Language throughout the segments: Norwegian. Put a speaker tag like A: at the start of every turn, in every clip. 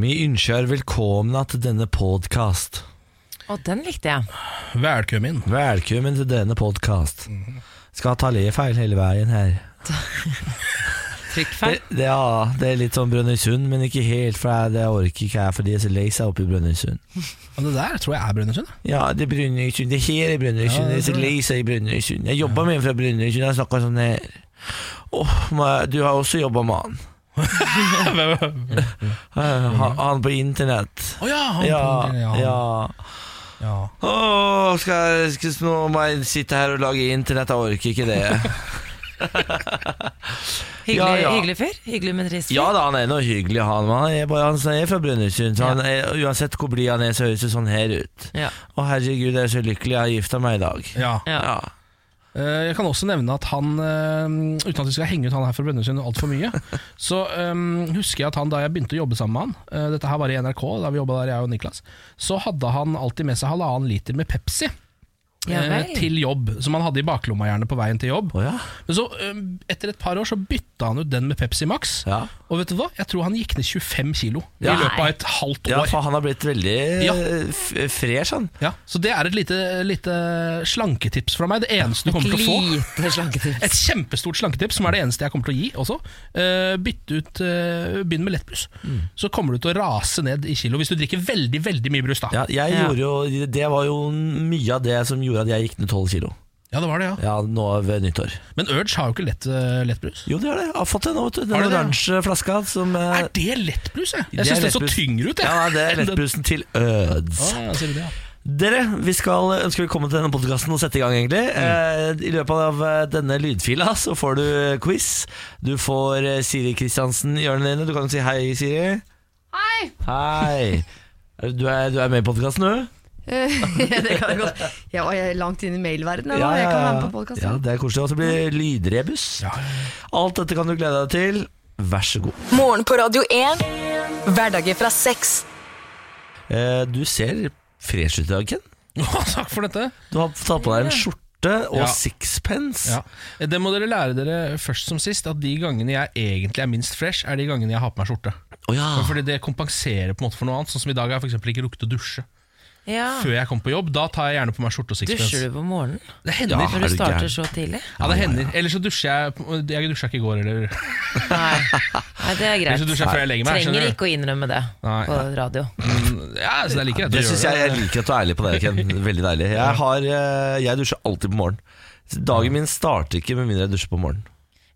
A: Vi ønsker velkomna til denne podkast.
B: Og den likte jeg.
C: Velkommen.
A: Velkommen til denne podkast. Skal ta lefeil hele veien her.
B: Trykkfeil.
A: Det, det, ja, det er litt sånn Brønnøysund, men ikke helt, for det orker ikke jeg, fordi jeg er så lei seg oppe i Brønnøysund.
C: Og det der tror jeg er Brønnøysund.
A: Ja, det er Brønnøysund. Det her er Brønnøysund.
C: Ja,
A: Jeg er
C: det
A: så
C: tror jeg.
A: lei seg i Brønnøysund. Jeg jobba med en fra Brønnøysund, jeg snakka sånn her. Åh, men du har også jobba med han. Eh, han- Han på internett.
C: Å ja, han
A: Ja,
C: ja, ja.
A: ja.
C: ja.
A: Åh, skal jeg, skal, nå må jeg sitte her og lage internett, jeg orker ikke det.
B: Hyggelig,
A: Ja, ja.
B: hyggelig fyr. Hyggelig, men trist. fyr.
A: Ja da, han er noe hyggelig, han. men Han er, bare, han er fra Brønnøysund, så han er, uansett hvor blid han er, så høres det sånn her ut.
B: Ja.
A: Å herregud, jeg er så lykkelig, jeg har gifta meg i dag.
C: ja.
B: Ja.
A: Ja.
C: Eh, Jeg kan også nevne at han, eh, uten at vi skal henge ut han her fra Brønnøysund altfor mye, så eh, husker jeg at han da jeg begynte å jobbe sammen med han, eh, dette her var i NRK, da vi jobba der jeg og Niklas, så hadde han alltid med seg halvannen liter med Pepsi
B: Ja
C: eh,
B: vel.
C: til jobb, som han hadde i baklomma gjerne på veien til jobb.
A: Å ja.
C: Men så, eh, etter et par år, så bytta han ut den med Pepsi Max,
A: Ja.
C: og vet du hva? Jeg tror han gikk ned 25 kilo i
A: Ja.
C: løpet av et halvt
A: ja,
C: år.
A: for han har blitt veldig
C: Ja.
A: eh, f- fresh, han.
C: Ja, så det er et lite, lite slanketips fra meg. Det eneste du kommer til å få.
B: Lite slanketips.
C: Et kjempestort slanketips, som er det eneste jeg kommer til å gi også. Eh, bytte ut, eh, Begynn med lettbrus,
A: Mm.
C: så kommer du til å rase ned i kilo. Hvis du drikker veldig veldig mye brus, da.
A: Ja, jeg
B: Ja.
A: gjorde jo, Det var jo mye av det som gjorde at jeg gikk ned tolv kilo.
C: Ja, det var det, ja.
A: Ja, nå ved nyttår.
C: Men Urge har jo ikke lett, eh, lettbrus.
A: Jo, det har det. Jeg har fått det nå, vet du. Den
C: Har du det?
A: oransje flaska som eh,
C: Er det lettbrus, jeg? Jeg
A: Det er
C: syns det så
A: lettbrus.
C: tyngre ut, jeg.
A: Ja, nei, det er lettbrusen til øds.
C: Ah, ja, sier du det, ja.
A: Dere, vi skal ønske velkommen til denne podkasten og sette i gang, egentlig.
C: Mm.
A: Eh, I løpet av eh, denne lydfila så får du eh, quiz. Du får eh, Siri Kristiansen i hjørnet dine. Du kan jo si hei, Siri.
D: Hei!
A: Hei. Er Du du er, du er med i podkasten, du?
D: det kan jeg godt. Ja, og jeg er langt inn i mailverdenen. Ja, Jeg kan være med på podcasten.
A: Ja, det er koselig. Og så blir det lydrebus. Alt dette kan du glede deg til. Vær så god.
E: Morgen på Radio 1. Hverdager fra seks.
A: Eh, Du ser fresh ut i dag, Ken.
C: Å, Takk for dette.
A: Du har tatt på deg en skjorte og
C: Ja.
A: sixpence.
C: Ja. Det må dere lære dere først som sist, at de gangene jeg egentlig er minst fresh, er de gangene jeg har på meg skjorte.
A: Å ja.
C: Fordi det kompenserer på en måte for noe annet. Sånn som i dag har jeg for eksempel ikke rukket å dusje
B: Ja.
C: før jeg kom på jobb. Da tar jeg gjerne på meg skjorte og sixpence.
B: Ah. Dusjer du på morgenen
C: Det hender.
A: Ja.
C: Ja,
B: når
A: Er
B: du
A: du
B: starter
A: gæren?
B: så tidlig?
C: det hender. Eller så dusjer jeg Jeg dusja ikke i går, eller Eller
B: Nei, Nei det er
C: så
B: greit.
C: dusjer jeg før jeg legger meg.
B: Trenger
C: skjønner du?
B: ikke å innrømme det
C: Nei.
B: på radio.
C: Ja, så det er like greit å
A: Det
C: gjøre
A: syns jeg jeg liker at du er ærlig på det, Ken. Veldig deilig. Jeg, har, eh, jeg dusjer alltid på morgenen. Dagen min starter ikke med mindre jeg dusjer på morgenen.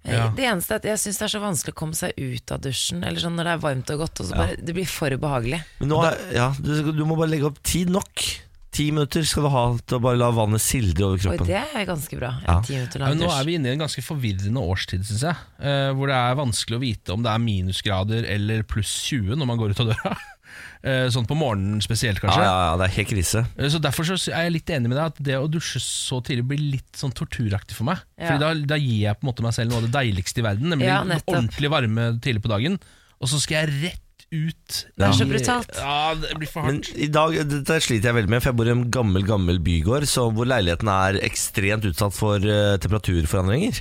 C: Ja.
B: Eh, Det eneste er at jeg syns det er så vanskelig å komme seg ut av dusjen. Eller sånn når det er varmt og godt, og så bare, det blir for ubehagelig.
A: Men nå, er- ja, du, du må bare legge opp tid nok. Ti minutter skal du ha til å bare la vannet sildre over
B: Og
A: kroppen.
B: det er ganske bra. En
A: Ja.
B: ti minutter
C: Ja,
B: lang
C: men nå er
B: dusj.
C: vi inne i en ganske forvirrende årstid, syns jeg. eh, hvor det er vanskelig å vite om det er minusgrader eller pluss 20 når man går ut av døra. Eh, sånn på morgenen spesielt,
A: Ja,
C: kanskje.
A: ja, ja, det er helt krise.
C: Eh, Så Derfor så er jeg litt enig med deg at det å dusje så tidlig blir litt sånn torturaktig for meg.
B: Ja.
C: Fordi da, da gir jeg på en måte meg selv noe av det deiligste i verden, nemlig
B: Ja, nettopp.
C: ordentlig varme tidlig på dagen. Og så skal jeg rett ut.
A: Det er
B: så
C: i-
B: brutalt.
C: Ja, det blir for
A: Men
C: hardt.
A: i dag dette sliter jeg veldig med, for jeg bor i en gammel gammel bygård så hvor leiligheten er ekstremt utsatt for eh, temperaturforandringer.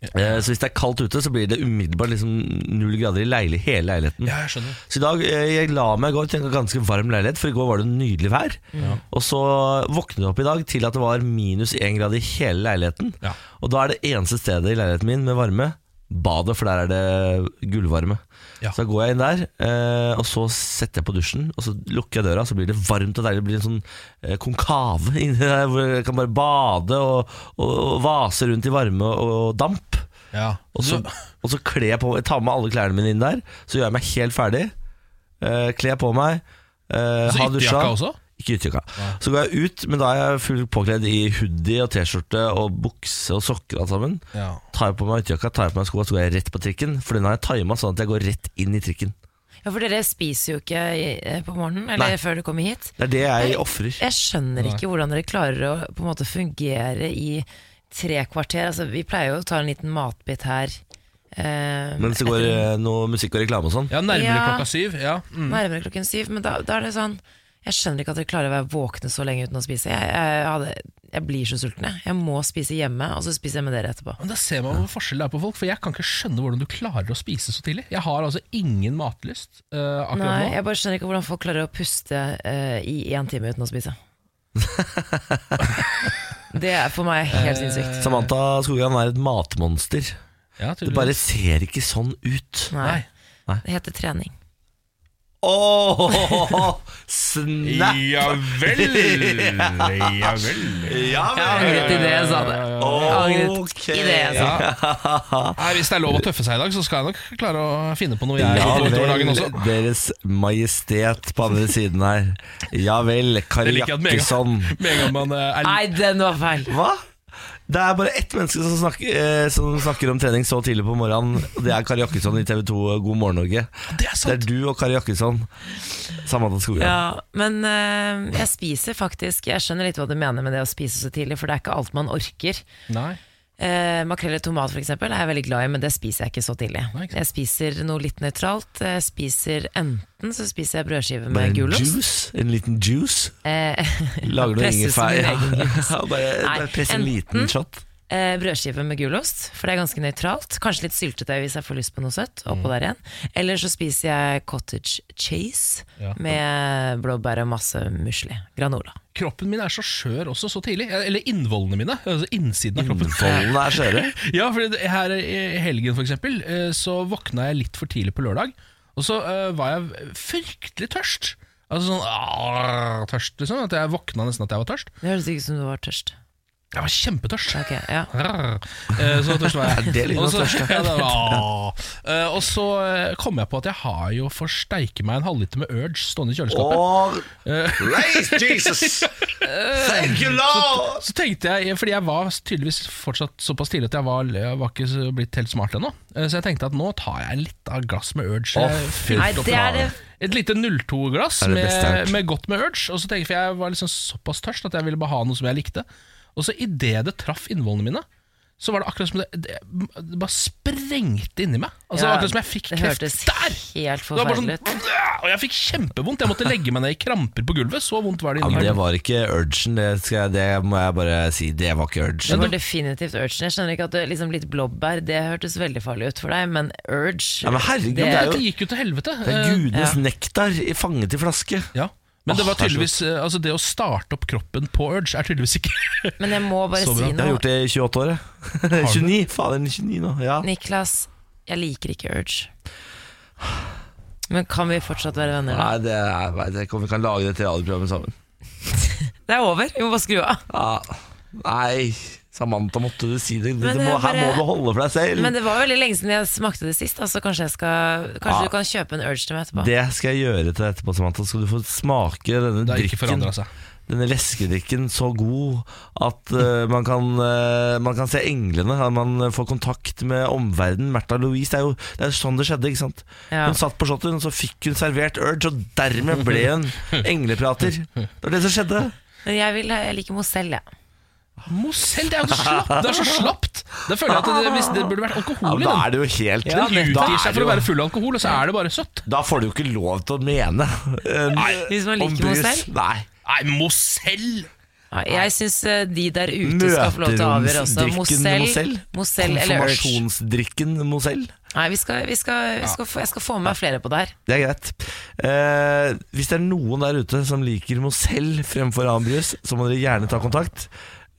A: Eh, så hvis det er kaldt ute, så blir det umiddelbart liksom null grader i leili hele leiligheten.
C: Ja, jeg skjønner.
A: Så i dag, eh, jeg la meg i går til en ganske varm leilighet, for i går var det nydelig vær. Og så våknet jeg opp i dag til at det var minus én grad i hele leiligheten.
C: Ja.
A: Og da er det eneste stedet i leiligheten min med varme badet, for der er det gulvvarme.
C: Ja.
A: Så da går jeg inn der, eh, og så setter jeg på dusjen, og så lukker jeg døra, så blir det varmt og deilig. Det blir en sånn eh, konkave inni der, hvor jeg kan bare bade og, og, og vase rundt i varme og damp.
C: Ja.
A: Og så,
C: Du-
A: og så kler jeg på Jeg tar med alle klærne mine inn der Så gjør jeg meg helt ferdig uh, Kler på meg eh,
C: så
A: har dusja.
C: ytterjakka også?
A: Ikke ytterjakka Så går jeg ut Men da er jeg fullt påkledd i hoodie og t-skjorte Og bukse og sokker og alt sammen
C: Ja.
A: Tar jeg på meg ytterjakka Tar jeg på meg skoene Så går jeg rett på trikken For den har jeg timet sånn at jeg går rett inn i trikken
B: Ja, for dere spiser jo ikke eh, på morgenen, eller
A: Nei.
B: før dere kommer hit.
A: Det er det jeg offrer
B: Jeg skjønner ikke hvordan dere klarer å på en måte fungere i tre kvarter. Altså, vi pleier jo å ta en liten matbit her. eh,
A: Mens det går
B: etter-
A: eh, noe musikk og reklame og sånn
C: ja, nærmere
B: Ja.
C: klokka syv. Ja. Mm.
B: nærmere klokken syv, men da, da er det sånn Jeg skjønner ikke at dere klarer å være våkne så lenge uten å spise. Jeg, jeg hadde jeg blir så sulten, jeg. Jeg må spise hjemme, og så spiser jeg med dere etterpå.
C: Men Da ser man hvor forskjell det er på folk, for jeg kan ikke skjønne hvordan du klarer å spise så tidlig. Jeg har altså ingen matlyst eh, akkurat
B: Nei,
C: nå.
B: jeg bare skjønner ikke hvordan folk klarer å puste eh, i én time uten å spise. det er for meg helt sinnssykt.
A: Samantha Skogran er et matmonster.
C: Ja,
A: Det
C: tydeligvis.
A: bare ser ikke sånn ut.
B: Eh, Nei.
C: Nei.
B: Det heter trening.
A: Åh, snap!
C: Ja vel, ja vel.
A: Ja,
B: Jeg angret i det jeg sa det. Jeg angret
A: Ok.
B: i det altså. jeg sa.
C: Nei, hvis det er lov å tøffe seg i dag, så skal jeg nok klare å finne på noe jeg
A: Ja
C: gjør utover dagen
A: vel,
C: også.
A: Deres Majestet på andre siden her. Ja vel, Kari
C: Jeg liker at med en gang-
A: Jakkesson.
C: med en gang man eh, er
B: Nei, den var feil.
A: Hva? Det er bare ett menneske som snakker, eh, som snakker om trening så tidlig på morgenen. og Det er Kari Jakkesson i TV 2 eh, God morgen Norge.
C: Det er
A: Det
C: sant!
A: er du og Kari Jakkesson. Samantha Skogran.
B: Ja, men eh, jeg spiser faktisk Jeg skjønner litt hva du mener med det å spise så tidlig, for det er ikke alt man orker.
C: Nei.
B: Eh, makrell i tomat for eksempel, er jeg veldig glad i, men det spiser jeg ikke så tidlig.
C: Nei, ikke sant.
B: Jeg spiser noe litt nøytralt. Jeg spiser Enten så spiser jeg
A: Bare
B: brødskive med
A: en
B: gulost.
A: juice, en liten juice.
B: Eh,
A: Lager du
B: presses
A: ingefær?
B: min egen
A: Ja, bare bare
B: Nei,
A: press en liten
B: enten-
A: shot.
B: eh, brødskive med gulost, for det er ganske nøytralt. Kanskje litt syltetøy hvis jeg får lyst på noe søtt.
C: Mm.
B: Oppå der igjen. Eller så spiser jeg cottage cheese
C: Ja.
B: med blåbær og masse musli. Granola.
C: Kroppen min er så skjør også så tidlig. Eh, Eller innvollene mine. Altså innsiden av kroppen.
A: Folden er skjøre.
C: Ja, for det- her i helgen for eksempel eh, Så våkna jeg litt for tidlig på lørdag Og så eh, var jeg fryktelig tørst Altså sånn ah, tørst liksom At jeg våkna nesten at jeg var tørst
B: Det høres ikke ut som du var tørst.
C: Jeg var kjempetørst
B: Ok, ja
C: Arr. Eh, Så tørst var jeg
A: Det er lyden av
C: Og så-
A: tørst,
C: ja, det var, ah. Eh, Og så eh, kom jeg på at jeg har jo for steike meg en halvliter med Urge Stående i kjøleskapet
A: Og Raise Jesus! Thank you, Lord!
C: Så tenkte jeg, fordi jeg var tydeligvis fortsatt såpass tidlig At jeg var, jeg var ikke så- blitt helt smart ennå Eh, Så jeg tenkte at nå tar jeg litt av glass med Urge
A: Å,
C: Jeg
A: fy
B: Nei, det er det
C: Et lite 02-glass
A: Er det beste jeg har
C: med,
A: hørt.
C: med godt med urge. Og så tenker jeg, for jeg var liksom såpass tørst at jeg ville bare ha noe som jeg likte. Og så idet det traff innvollene mine, så var det akkurat som det, det, det bare sprengte inni meg. Altså det
B: Ja,
C: var Akkurat som jeg fikk
B: det
C: kreft
B: hørtes
C: der!
B: helt
C: Det var bare
B: forferdelig ut.
C: sånn, og jeg fikk kjempevondt. Jeg måtte legge meg ned i kramper på gulvet. Så vondt var det
A: Ja,
C: inni
A: men det
C: meg.
A: var ikke urgen, det, skal jeg, det må jeg bare si. Det var ikke
B: Det
A: urgen.
B: var definitivt urgen. Jeg skjønner ikke at det, liksom litt blåbær Det hørtes veldig farlig ut for deg, men urge
A: Ja, men herregud, det
B: det,
A: er jo
C: Dette gikk jo til helvete.
A: Det er
C: Eh,
A: gudenes
B: ja.
A: nektar i fanget i flaske.
C: Ja. Men det
A: Åh,
C: var
A: det er så
C: tydeligvis eh, Altså det å starte opp kroppen på urge er tydeligvis ikke
B: Men jeg må bare
C: Så bra.
B: si
A: Jeg har
B: noe.
A: gjort det i 28 år, jeg. 29, fader, 29 nå. Ja.
B: Niklas, jeg liker ikke urge. Men kan vi fortsatt være venner, da?
A: Nei, det er, nei, det kan, vi kan lage dette radioprogrammet sammen.
B: Det er over, vi må bare skru av.
A: Ja. Nei, Samantha, måtte du si det?
B: Men
A: det
B: det
A: må,
B: er
A: her må
B: bare-
A: du holde for deg selv.
B: Men det var veldig lenge siden jeg smakte det sist, da, så kanskje, jeg skal, kanskje
A: Ja.
B: du kan kjøpe en urge til meg etterpå.
A: Ah. Det skal jeg gjøre til deg etterpå, Samantha. Skal du få smake denne
C: Det har ikke
A: drikken
C: forandra seg.
A: Denne leskedrikken så god at eh, man, kan, eh, man kan se englene. At man får kontakt med omverdenen. Märtha Louise, det er jo det er jo sånn det skjedde. ikke sant?
B: Ja.
A: Hun satt på shotten, og så fikk hun servert urge, og dermed ble hun engleprater. Det var det som skjedde.
B: Men jeg, vil, jeg liker Mozell, jeg.
C: Mozell, det er jo så slapt! Det er så slapt. Det føler jeg at det, hvis det burde
A: Ja,
C: vært alkohol i
A: men da
C: den.
A: er det jo helt
C: Ja, den
A: da,
C: utgir
A: er
C: seg for å
A: det
C: være
A: jo,
C: full av alkohol, og så er det bare søtt.
A: da får du jo ikke lov til å mene eh,
B: Hvis man
A: om
B: liker
A: brus.
B: Mozell.
A: Nei.
C: Nei, Mozell!
B: Ja, Jeg syns de der ute skal få lov til å avgjøre også.
A: Møteromsdrikken
B: Mozell,
A: Mozell?
B: Mozell eller urge.
A: Konfirmasjonsdrikken Mozell.
B: Nei, vi skal, vi skal, vi skal, få- jeg skal få med meg flere på det her.
A: Det er greit. Eh, hvis det er noen der ute som liker Mozell fremfor annen brus, så må dere gjerne ta kontakt.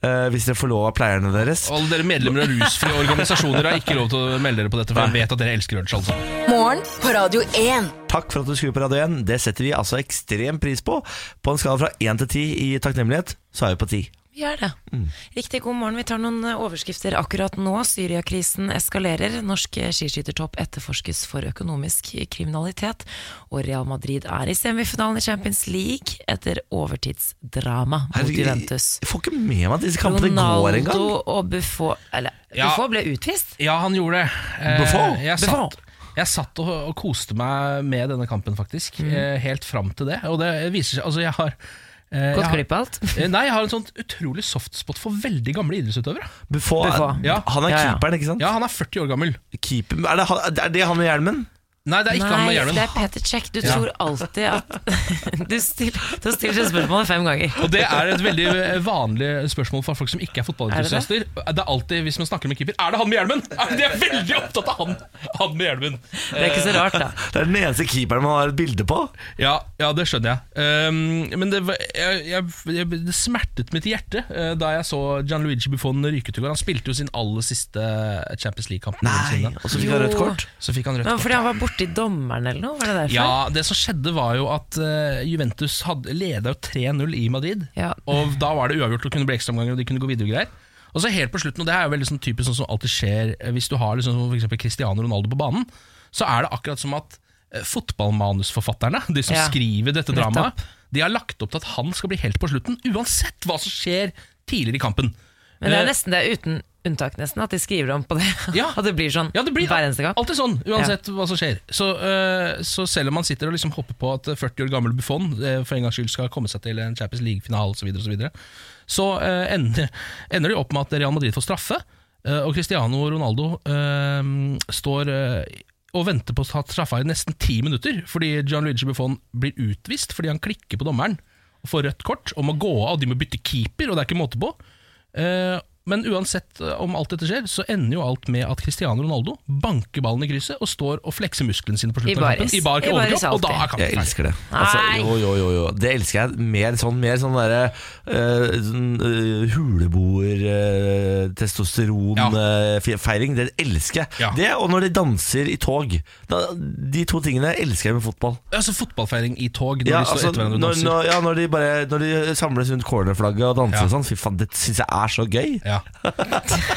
A: Eh, hvis dere får lov av pleierne deres.
C: Alle dere medlemmer av rusfrie organisasjoner har ikke lov til å melde dere på dette, for jeg vet at dere elsker lunsj, altså.
E: Morgen på Radio 1.
A: Takk for at du skrur på Radio 1. Det setter vi altså ekstrem pris på. På en skala fra 1 til 10 i takknemlighet, så er vi på 10.
B: Vi gjør det.
A: Mm.
B: Riktig god morgen. Vi tar noen eh, overskrifter akkurat nå. Syriakrisen eskalerer. Norsk eh, skiskyttertopp etterforskes for økonomisk kriminalitet. Og Real Madrid er i semifinalen i Champions League etter overtidsdrama mot Juventus.
A: jeg får ikke med meg at disse kampene går
B: Ronaldo
A: engang.
B: og Buffon Eller,
C: Ja.
B: Buffon ble utvist.
C: Ja, han gjorde det. Eh,
A: Buffon?
C: Jeg
B: Buffon.
C: satt, jeg satt og, og koste meg med denne kampen, faktisk. Eh, helt fram til det. Og det viser seg Altså, jeg har eh, jeg
B: Gått
C: har-
B: glipp av alt.
C: Eh, Nei, jeg har en sånn utrolig softspot for veldig gamle idrettsutøvere.
A: Buffon, er-
B: Buffon.
C: Ja.
A: eh, Han er
B: Ja, ja.
A: keeperen, ikke sant?
C: Ja, han er 40 år gammel.
A: Keeper, er, det, han- er det han med hjelmen?
C: Nei, det er ikke
B: Nei,
C: han med hjelmen.
B: det er Peter Check. Du tror alltid at Du stiller, du stiller det spørsmålet fem ganger.
C: Og det er et veldig eh, vanlig spørsmål for folk som ikke er fotballentusiaster. Det, er alltid, hvis man snakker med keeper, er det han med hjelmen? Er- De er veldig opptatt av han, han med hjelmen.
B: Det er ikke så rart, da.
A: Det er den eneste keeperen man har et bilde på.
C: Ja, ja det skjønner jeg. Um, men det, var- jeg, jeg, jeg, det smertet mitt hjerte eh, da jeg så Gianluigi Buffon ryke til går. Han spilte jo sin aller siste eh, Champions League-kamp. noensinne.
A: Og så fikk han
B: Jo.
A: rødt kort.
C: Så fikk han rødt
B: Men
C: kort.
B: fordi han var borti dommeren eller noe? Var det derfor?
C: Ja, det som skjedde var jo at eh, Juventus hadde, leda jo 3-0 i Madrid.
B: Ja.
C: Og da var det uavgjort og kunne bli ekstraomganger, og de kunne gå videre og greier. Og så helt på slutten, og det er jo veldig sånn typisk sånn som alltid skjer eh, hvis du har liksom, som for eksempel Cristiano Ronaldo på banen, så er det akkurat som at eh, fotballmanusforfatterne, de som
B: Ja.
C: skriver dette dramaet, de har lagt opp til at han skal bli helt på slutten, uansett hva som skjer tidligere i kampen.
B: Men det
C: Eh,
B: er nesten det, uten unntak nesten, at de skriver om på det.
C: Ja.
B: At det blir sånn
C: Ja, det blir
B: hver eneste gang.
C: Alltid sånn, uansett hva som skjer. Så, eh, så selv om man sitter og liksom hopper på at eh, 40 år gammel Buffon eh, for en gangs skyld skal komme seg til en Champions League-finale osv., så, videre, og så, videre, så eh, ender, ender de opp med at Real Madrid får straffe, eh, og Cristiano Ronaldo eh, står eh, og venter på å ta straffa i nesten ti minutter, fordi Gianluigi Buffon blir utvist fordi han klikker på dommeren og får rødt kort og må gå av, og de må bytte keeper, og det er ikke måte på. Eh, Men uansett eh, om alt dette skjer, så ender jo alt med at Cristiano Ronaldo banker ballen i krysset og står og flekser musklene sine på slutten
B: I
C: av
B: baris.
C: kampen. I bar
B: I baris
C: overkropp, og da
B: alltid.
C: er
A: Jeg
C: kampen ferdig.
A: elsker det.
B: Nei.
A: Altså, jo, jo, jo, jo. Det elsker jeg. Mer sånn, mer sånn derre eh, sånn, eh, huleboer, eh, testosteron
C: Ja.
A: eh, fe- feiring det elsker jeg.
C: Ja.
A: Det og når de danser i tog. Da, de to tingene elsker jeg med fotball.
C: Altså fotballfeiring i tog når
A: Ja,
C: de står
A: altså,
C: etter hverandre og
A: når,
C: danser.
A: når, ja, når, de bare, når de samles rundt cornerflagget og danser
C: Ja.
A: og sånn. Fy faen, det syns jeg er så gøy.
C: Ja.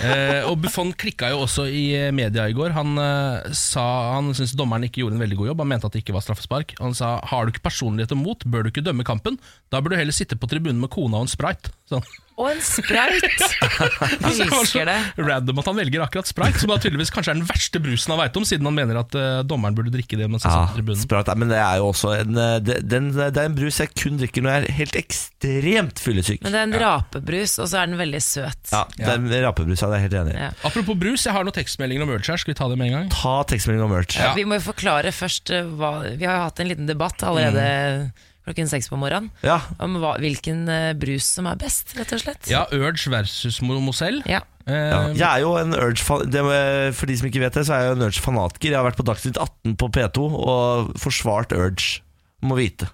C: Eh, og Buffon klikka jo også i eh, media i går. Han eh, sa Han syntes dommeren ikke gjorde en veldig god jobb. Han mente at det ikke var straffespark. Han sa har du ikke personlighet og mot, bør du ikke dømme kampen. Da bør du heller sitte på tribunen med kona og en sprite. Sånn.
B: Og en sprayt!
C: Så det var så
B: Elsker det.
C: Random at han velger akkurat sprite, som da tydeligvis kanskje er den verste brusen han veit om, siden han mener at eh, dommeren burde drikke det mens
A: Ja,
C: han satt på sånn tribunen.
A: Sprite, men det er jo også en, eh, det, den, det er en brus jeg kun drikker når jeg er helt ekstremt fyllesyk.
B: Men det er en rapebrus, og så er den veldig søt.
A: Ja, den rapebrusa er jeg helt enig i.
B: Ja.
C: Apropos brus, jeg har noen tekstmeldinger om Urge her. Skal vi ta det med en gang?
A: Ta tekstmelding og merch.
C: Ja.
B: Vi må jo forklare først eh, hva Vi har jo hatt en liten debatt
C: Mm.
B: allerede klokken seks på morgenen
A: Ja,
B: om hva, hvilken eh, brus som er best, rett og slett.
C: Ja, Urge versus Mo- Moselle.
B: Ja.
C: Eh,
A: ja. Jeg er jo en Urge fa- det, må- For de som ikke vet det, så er jeg jo en Urge-fanatiker. Jeg har vært på Dagsnytt 18 på P2 og forsvart Urge. Må vite.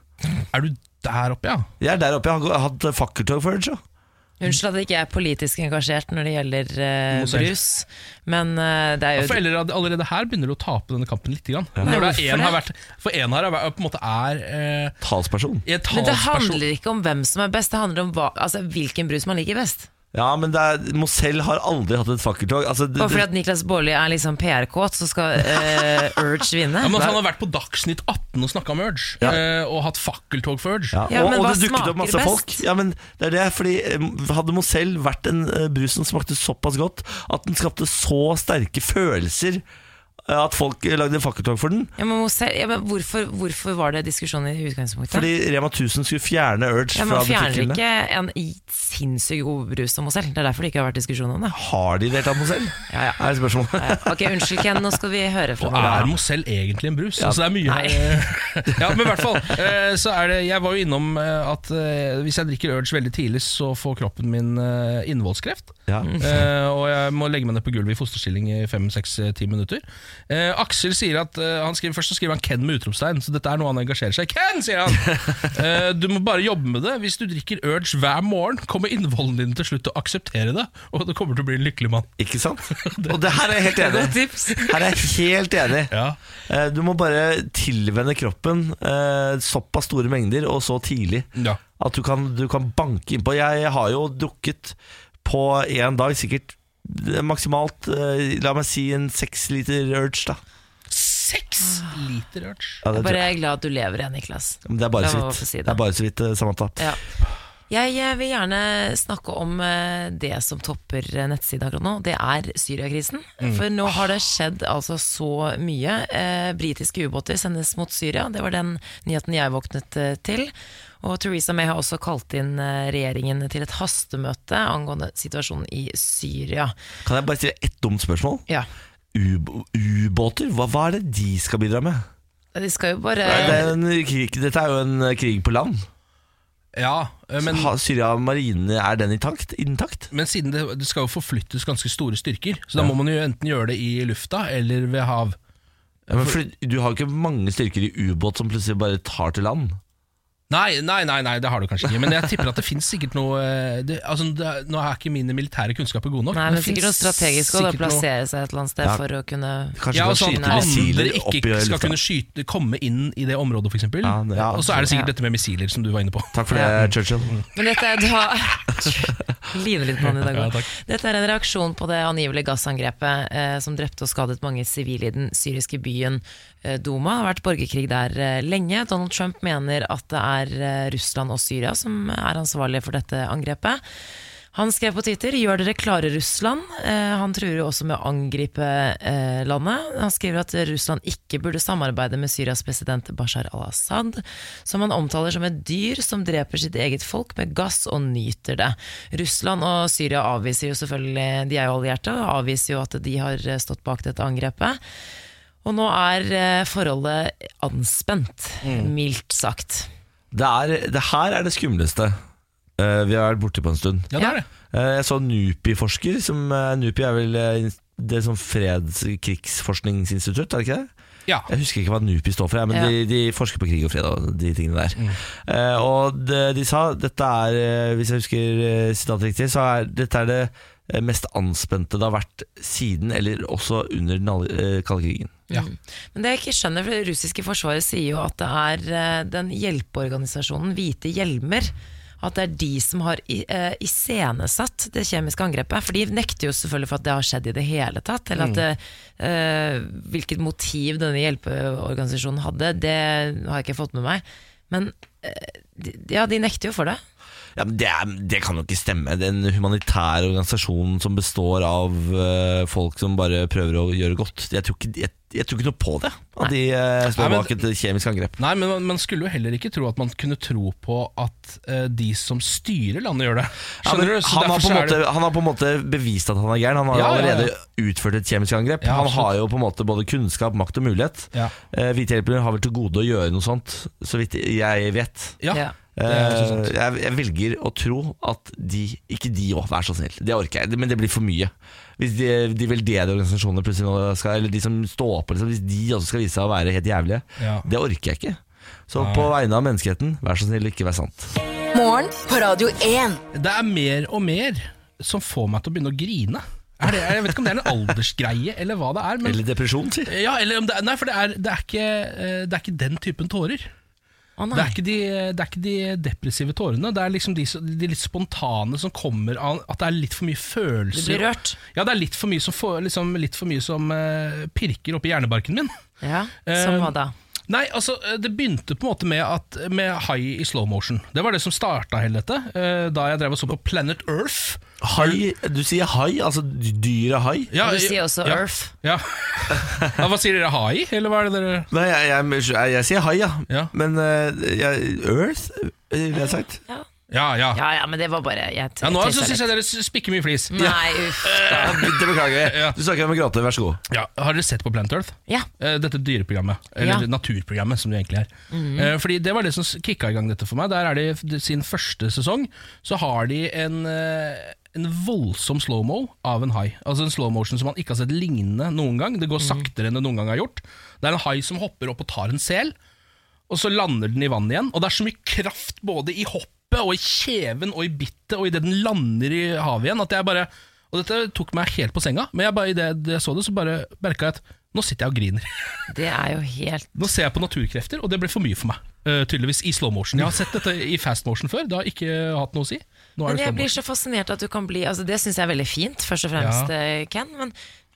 C: Er du der oppe, ja?
A: Jeg er der oppe. Jeg har gå- jeg har hatt fakkeltog for Urge. ja.
B: Unnskyld at jeg ikke er politisk engasjert når det gjelder eh,
C: Mosell.
B: brus, men eh, det er jo
C: For eller, allerede her begynner du å tape denne kampen litt. Grann. Når det
B: Hvorfor
C: er en har
B: det?
C: vært, for én her er, på en måte er eh,
A: Talsperson.
C: en
B: Men det
C: talsperson.
B: handler ikke om hvem som er best, det handler om hva, altså, hvilken brus man liker best.
A: Ja, men det er, Mosell har aldri hatt et fakkeltog. Altså, det,
B: Bare fordi
A: det,
B: at Niklas Baarli er liksom PR-kåt, så skal eh, Urge vinne?
C: Ja, men at han har vært på Dagsnytt 18 og snakka om Urge,
A: Ja.
C: eh, og hatt fakkeltog for Urge.
A: ja.
B: Ja,
A: og,
B: men
A: og
B: hva
A: det dukket opp
B: smaker
A: masse
B: best?
A: folk. Ja, men det er det, fordi eh, Hadde Mosell vært en eh, brus som smakte såpass godt at den skapte så sterke følelser eh, at folk eh, lagde fakkeltog for den
B: Ja, men, Mosell, ja, men hvorfor, hvorfor var det diskusjon i utgangspunktet?
A: Fordi Rema 1000 skulle fjerne Urge
B: ja,
A: fra
B: man fjerner
A: butikkene.
B: ikke en i- sinnssykt god brus som Mosell. Det er derfor det ikke har vært diskusjon om det.
A: Har de det helt av Mosell?
B: Ja, ja.
A: Er spørsmålet.
B: Ja, Ok, Unnskyld, Ken. Nå skal vi høre fra
C: Og er Mosell egentlig en brus? Altså det er mye Ja, men i hvert fall eh, Så er det Jeg var jo innom eh, at eh, Hvis jeg drikker Urge veldig tidlig Så får kroppen min eh, innvollskreft
A: Ja.
B: Mm.
C: eh, Og jeg må legge meg ned på gulvet i fosterstilling I 5-6-10 minutter eh, Aksel sier at eh, han skriver, Først så skriver han Ken med utropstegn Så dette er noe han engasjerer seg i. Ken, sier han eh, Du må bare jobbe med det Hvis du drikker Urge hver morgen Kommer innvollen din til slutt til å akseptere det Og du kommer til å bli en lykkelig mann
A: Ikke sant? Og det her er jeg helt enig i.
B: tips.
A: Her er jeg helt enig.
C: Ja.
A: Eh, Du må bare tilvenne kroppen eh, såpass store mengder og så tidlig
C: Ja.
A: at du kan, du kan banke innpå. Jeg har jo drukket på én dag sikkert maksimalt eh, La meg si en seks liter Urge, da.
C: 6 liter Urge
A: Ja, det,
B: Bare jeg er glad at du lever igjen, Niklas.
A: Men det er bare
B: La
A: så
B: meg få
A: vidt.
B: si det.
A: Det er bare så vidt, eh, Samantha.
B: Ja. Jeg eh, vil gjerne snakke om eh, det som topper eh, nettsiden akkurat nå. Det er Syriakrisen.
C: Mm.
B: For nå har det skjedd altså så mye. Eh, britiske ubåter sendes mot Syria. Det var den nyheten jeg våknet eh, til. Og Theresa May har også kalt inn eh, regjeringen til et hastemøte angående situasjonen i Syria.
A: Kan jeg bare stille ett dumt spørsmål?
B: Ja.
A: ub- ubåter? Hva, hva er det de skal bidra med?
B: De skal jo bare
A: Det er en krig, dette er jo en eh, krig på land.
C: Ja, eh, men,
A: Ha- Syria-marinen, er den intakt? intakt?
C: men siden det, det skal jo forflyttes ganske store styrker, så da må man jo enten gjøre det i lufta eller ved hav.
A: Ja, men fordi du har jo ikke mange styrker i ubåt som plutselig bare tar til land.
C: Nei, nei, nei, nei, det har du kanskje ikke. Men jeg tipper at det finnes sikkert noe eh, det, altså, det, er- Nå er ikke mine militære kunnskaper gode nok.
B: Nei, men sikkert noe
C: finnes
B: strategisk å da
C: sikkert noe-
B: plassere seg et eller annet sted
A: Ja.
B: for å kunne
A: Kanskje
C: Ja,
A: du
C: og
A: kan
C: sånn
A: skyte
C: at
A: missiler
C: andre
A: opp i
C: ikke skal
A: lufta.
C: kunne skyte, komme inn i det området, f.eks. eksempel
A: Ja, det- ja,
C: og så
B: absolutt.
C: er det sikkert dette med missiler, som du var inne på.
A: Takk for det, Churchill.
B: Men dette er da Livet litt på han i dag
C: Ja,
B: også.
C: takk.
B: Dette er en reaksjon på det angivelige gassangrepet eh, som drepte og skadet mange sivile i den syriske byen eh, Duma. Det har vært borgerkrig der eh, lenge. Donald Trump mener at det er eh, Russland og Syria som er ansvarlige for dette angrepet. Han skrev på Twitter 'Gjør dere klare Russland'. Eh, han truer jo også med å angripe eh, landet. Han skriver at Russland ikke burde samarbeide med Syrias president Bashar al-Assad, som han omtaler som et dyr som dreper sitt eget folk med gass og nyter det. Russland og Syria avviser jo selvfølgelig, de er jo allierte, og avviser jo at de har eh, stått bak dette angrepet. Og nå er eh, forholdet anspent, mildt sagt.
A: Det, er, det her er det skumleste eh, vi har vært borti på en stund.
C: Ja, det er det.
A: Eh, jeg så en NUPI-forsker. Som, eh, NUPI er vel eh, ins- det som fredskrigsforskningsinstitutt, er det ikke det?
C: Ja.
A: Jeg husker ikke hva NUPI står for, jeg, men
B: Ja.
A: de, de forsker på krig og fred og de tingene der.
C: Mm.
A: Eh, og de, de sa dette er, eh, hvis jeg husker eh, sitatet riktig, så er dette er det eh, mest anspente det har vært siden, eller også under den alle- eh, kalde krigen.
C: ja.
B: Men det jeg ikke skjønner, for det russiske forsvaret sier jo at det er eh, den hjelpeorganisasjonen Hvite hjelmer at det er de som har i- eh, iscenesatt det kjemiske angrepet. For de nekter jo selvfølgelig for at det har skjedd i det hele tatt. Eller
C: Mm.
B: at det, eh, hvilket motiv denne hjelpeorganisasjonen hadde, det har jeg ikke fått med meg. Men eh, de, ja, de nekter jo for det.
A: Ja, men det, er, det kan jo ikke stemme. Det er en humanitær organisasjon som består av eh, folk som bare prøver å gjøre godt. Jeg tror ikke, jeg, jeg tror ikke noe på det, at de eh,
C: Nei,
A: står
C: men-
A: bak et kjemisk angrep.
C: Nei, men man, man skulle jo heller ikke tro at man kunne tro på at eh, de som styrer landet, gjør det.
A: Ja, men
C: Skjønner du?
A: han,
C: Så
A: har
C: derfor
A: på en
C: så er
A: måte, han har på en måte bevist at han er gæren. Han har
C: Ja, ja, ja.
A: allerede utført et kjemisk angrep.
C: Ja,
A: han
C: absolutt.
A: har jo på en måte både kunnskap, makt og mulighet.
C: Ja.
A: Eh, Hvitehjelperne har vel til gode å gjøre noe sånt, så vidt jeg vet.
C: det, ja.
B: Ja.
C: Det er også
A: Eh,
C: sant.
A: jeg, jeg velger å tro at de Ikke de òg, vær så snill. Det orker jeg, men det blir for mye. Hvis de, de veldedige organisasjonene plutselig nå skal Eller de som står på, liksom, hvis de også skal vise seg å være helt jævlige.
C: Ja.
A: Det orker jeg ikke. Så på vegne av menneskeheten, vær så snill, ikke vær sant.
E: Morgen på Radio 1.
C: det er mer og mer som får meg til å begynne å grine. Er det, jeg vet ikke om det er en aldersgreie, eller hva det er. Men,
A: Eller depresjon, si.
C: ja, eller om det, er- nei, for det er, det, er ikke, eh, det er ikke den typen tårer.
B: Å
C: Det
B: nei.
C: er, ikke de, det er ikke de depressive tårene, det er liksom de, som- de litt spontane som kommer av at det er litt for mye
B: Du
C: følelser.
B: blir rørt.
C: Ja, det er litt for mye som, får- liksom, litt for mye som eh, pirker oppi hjernebarken min.
B: Ja,
C: Eh,
B: Som hva da?
C: Nei, altså, eh, det begynte på en måte med, at, med high i slow motion. Det var det som starta hele dette, eh, da jeg drev og så på Planet Earth.
A: Hai, du sier hai, altså dyret hai.
C: Ja,
B: Og du sier også
C: ja,
B: Earth.
C: Ja. ja, Hva sier dere, high, eller hva er det dere
A: Nei, jeg, jeg, jeg, jeg sier hai, ja.
C: Ja.
A: Men eh, jeg, Earth, eh, ville jeg sagt.
C: Ja, ja. ja.
B: Ja ja, men det var bare jeg Mm. t-
C: nå
B: tenkte
C: syns
B: litt.
C: jeg dere spikker mye flis.
B: Nei, uff.
A: Eh. Ja, det beklager jeg.
C: Ja.
A: Du snakker med gråte, vær så god.
C: Ja, har dere sett på Planet Earth?
B: Ja.
C: Eh, Dette dyreprogrammet, eller
B: Ja. Mm.
C: naturprogrammet som det egentlig er. Eh, Fordi Det var det som s- kicka i gang dette for meg. Der er de f- Sin første sesong Så har de en, eh, en voldsom slow-mo av en hai. Altså En slow-motion som man ikke har sett lignende noen gang. Det går
B: Mm.
C: saktere enn det noen gang har gjort. Det er en hai som hopper opp og tar en sel, og så lander den i vannet igjen. Og det er så mye kraft både i hoppet og i kjeven og i bittet og idet den lander i havet igjen, at jeg bare Og dette tok meg helt på senga, men jeg bare, i det jeg så det, så bare merka jeg at nå sitter jeg og griner.
B: Det er jo helt
C: Nå ser jeg på naturkrefter, og det ble for mye for meg. Eh, tydeligvis i slow motion. Jeg har sett dette i fast motion før. Det har ikke hatt noe å si. Nå
B: Men
C: er det
B: jeg
C: slow
B: blir
C: motion.
B: så fascinert at du kan bli altså Det syns jeg er veldig fint, først og fremst,
C: Ja.
B: eh, Ken. Men,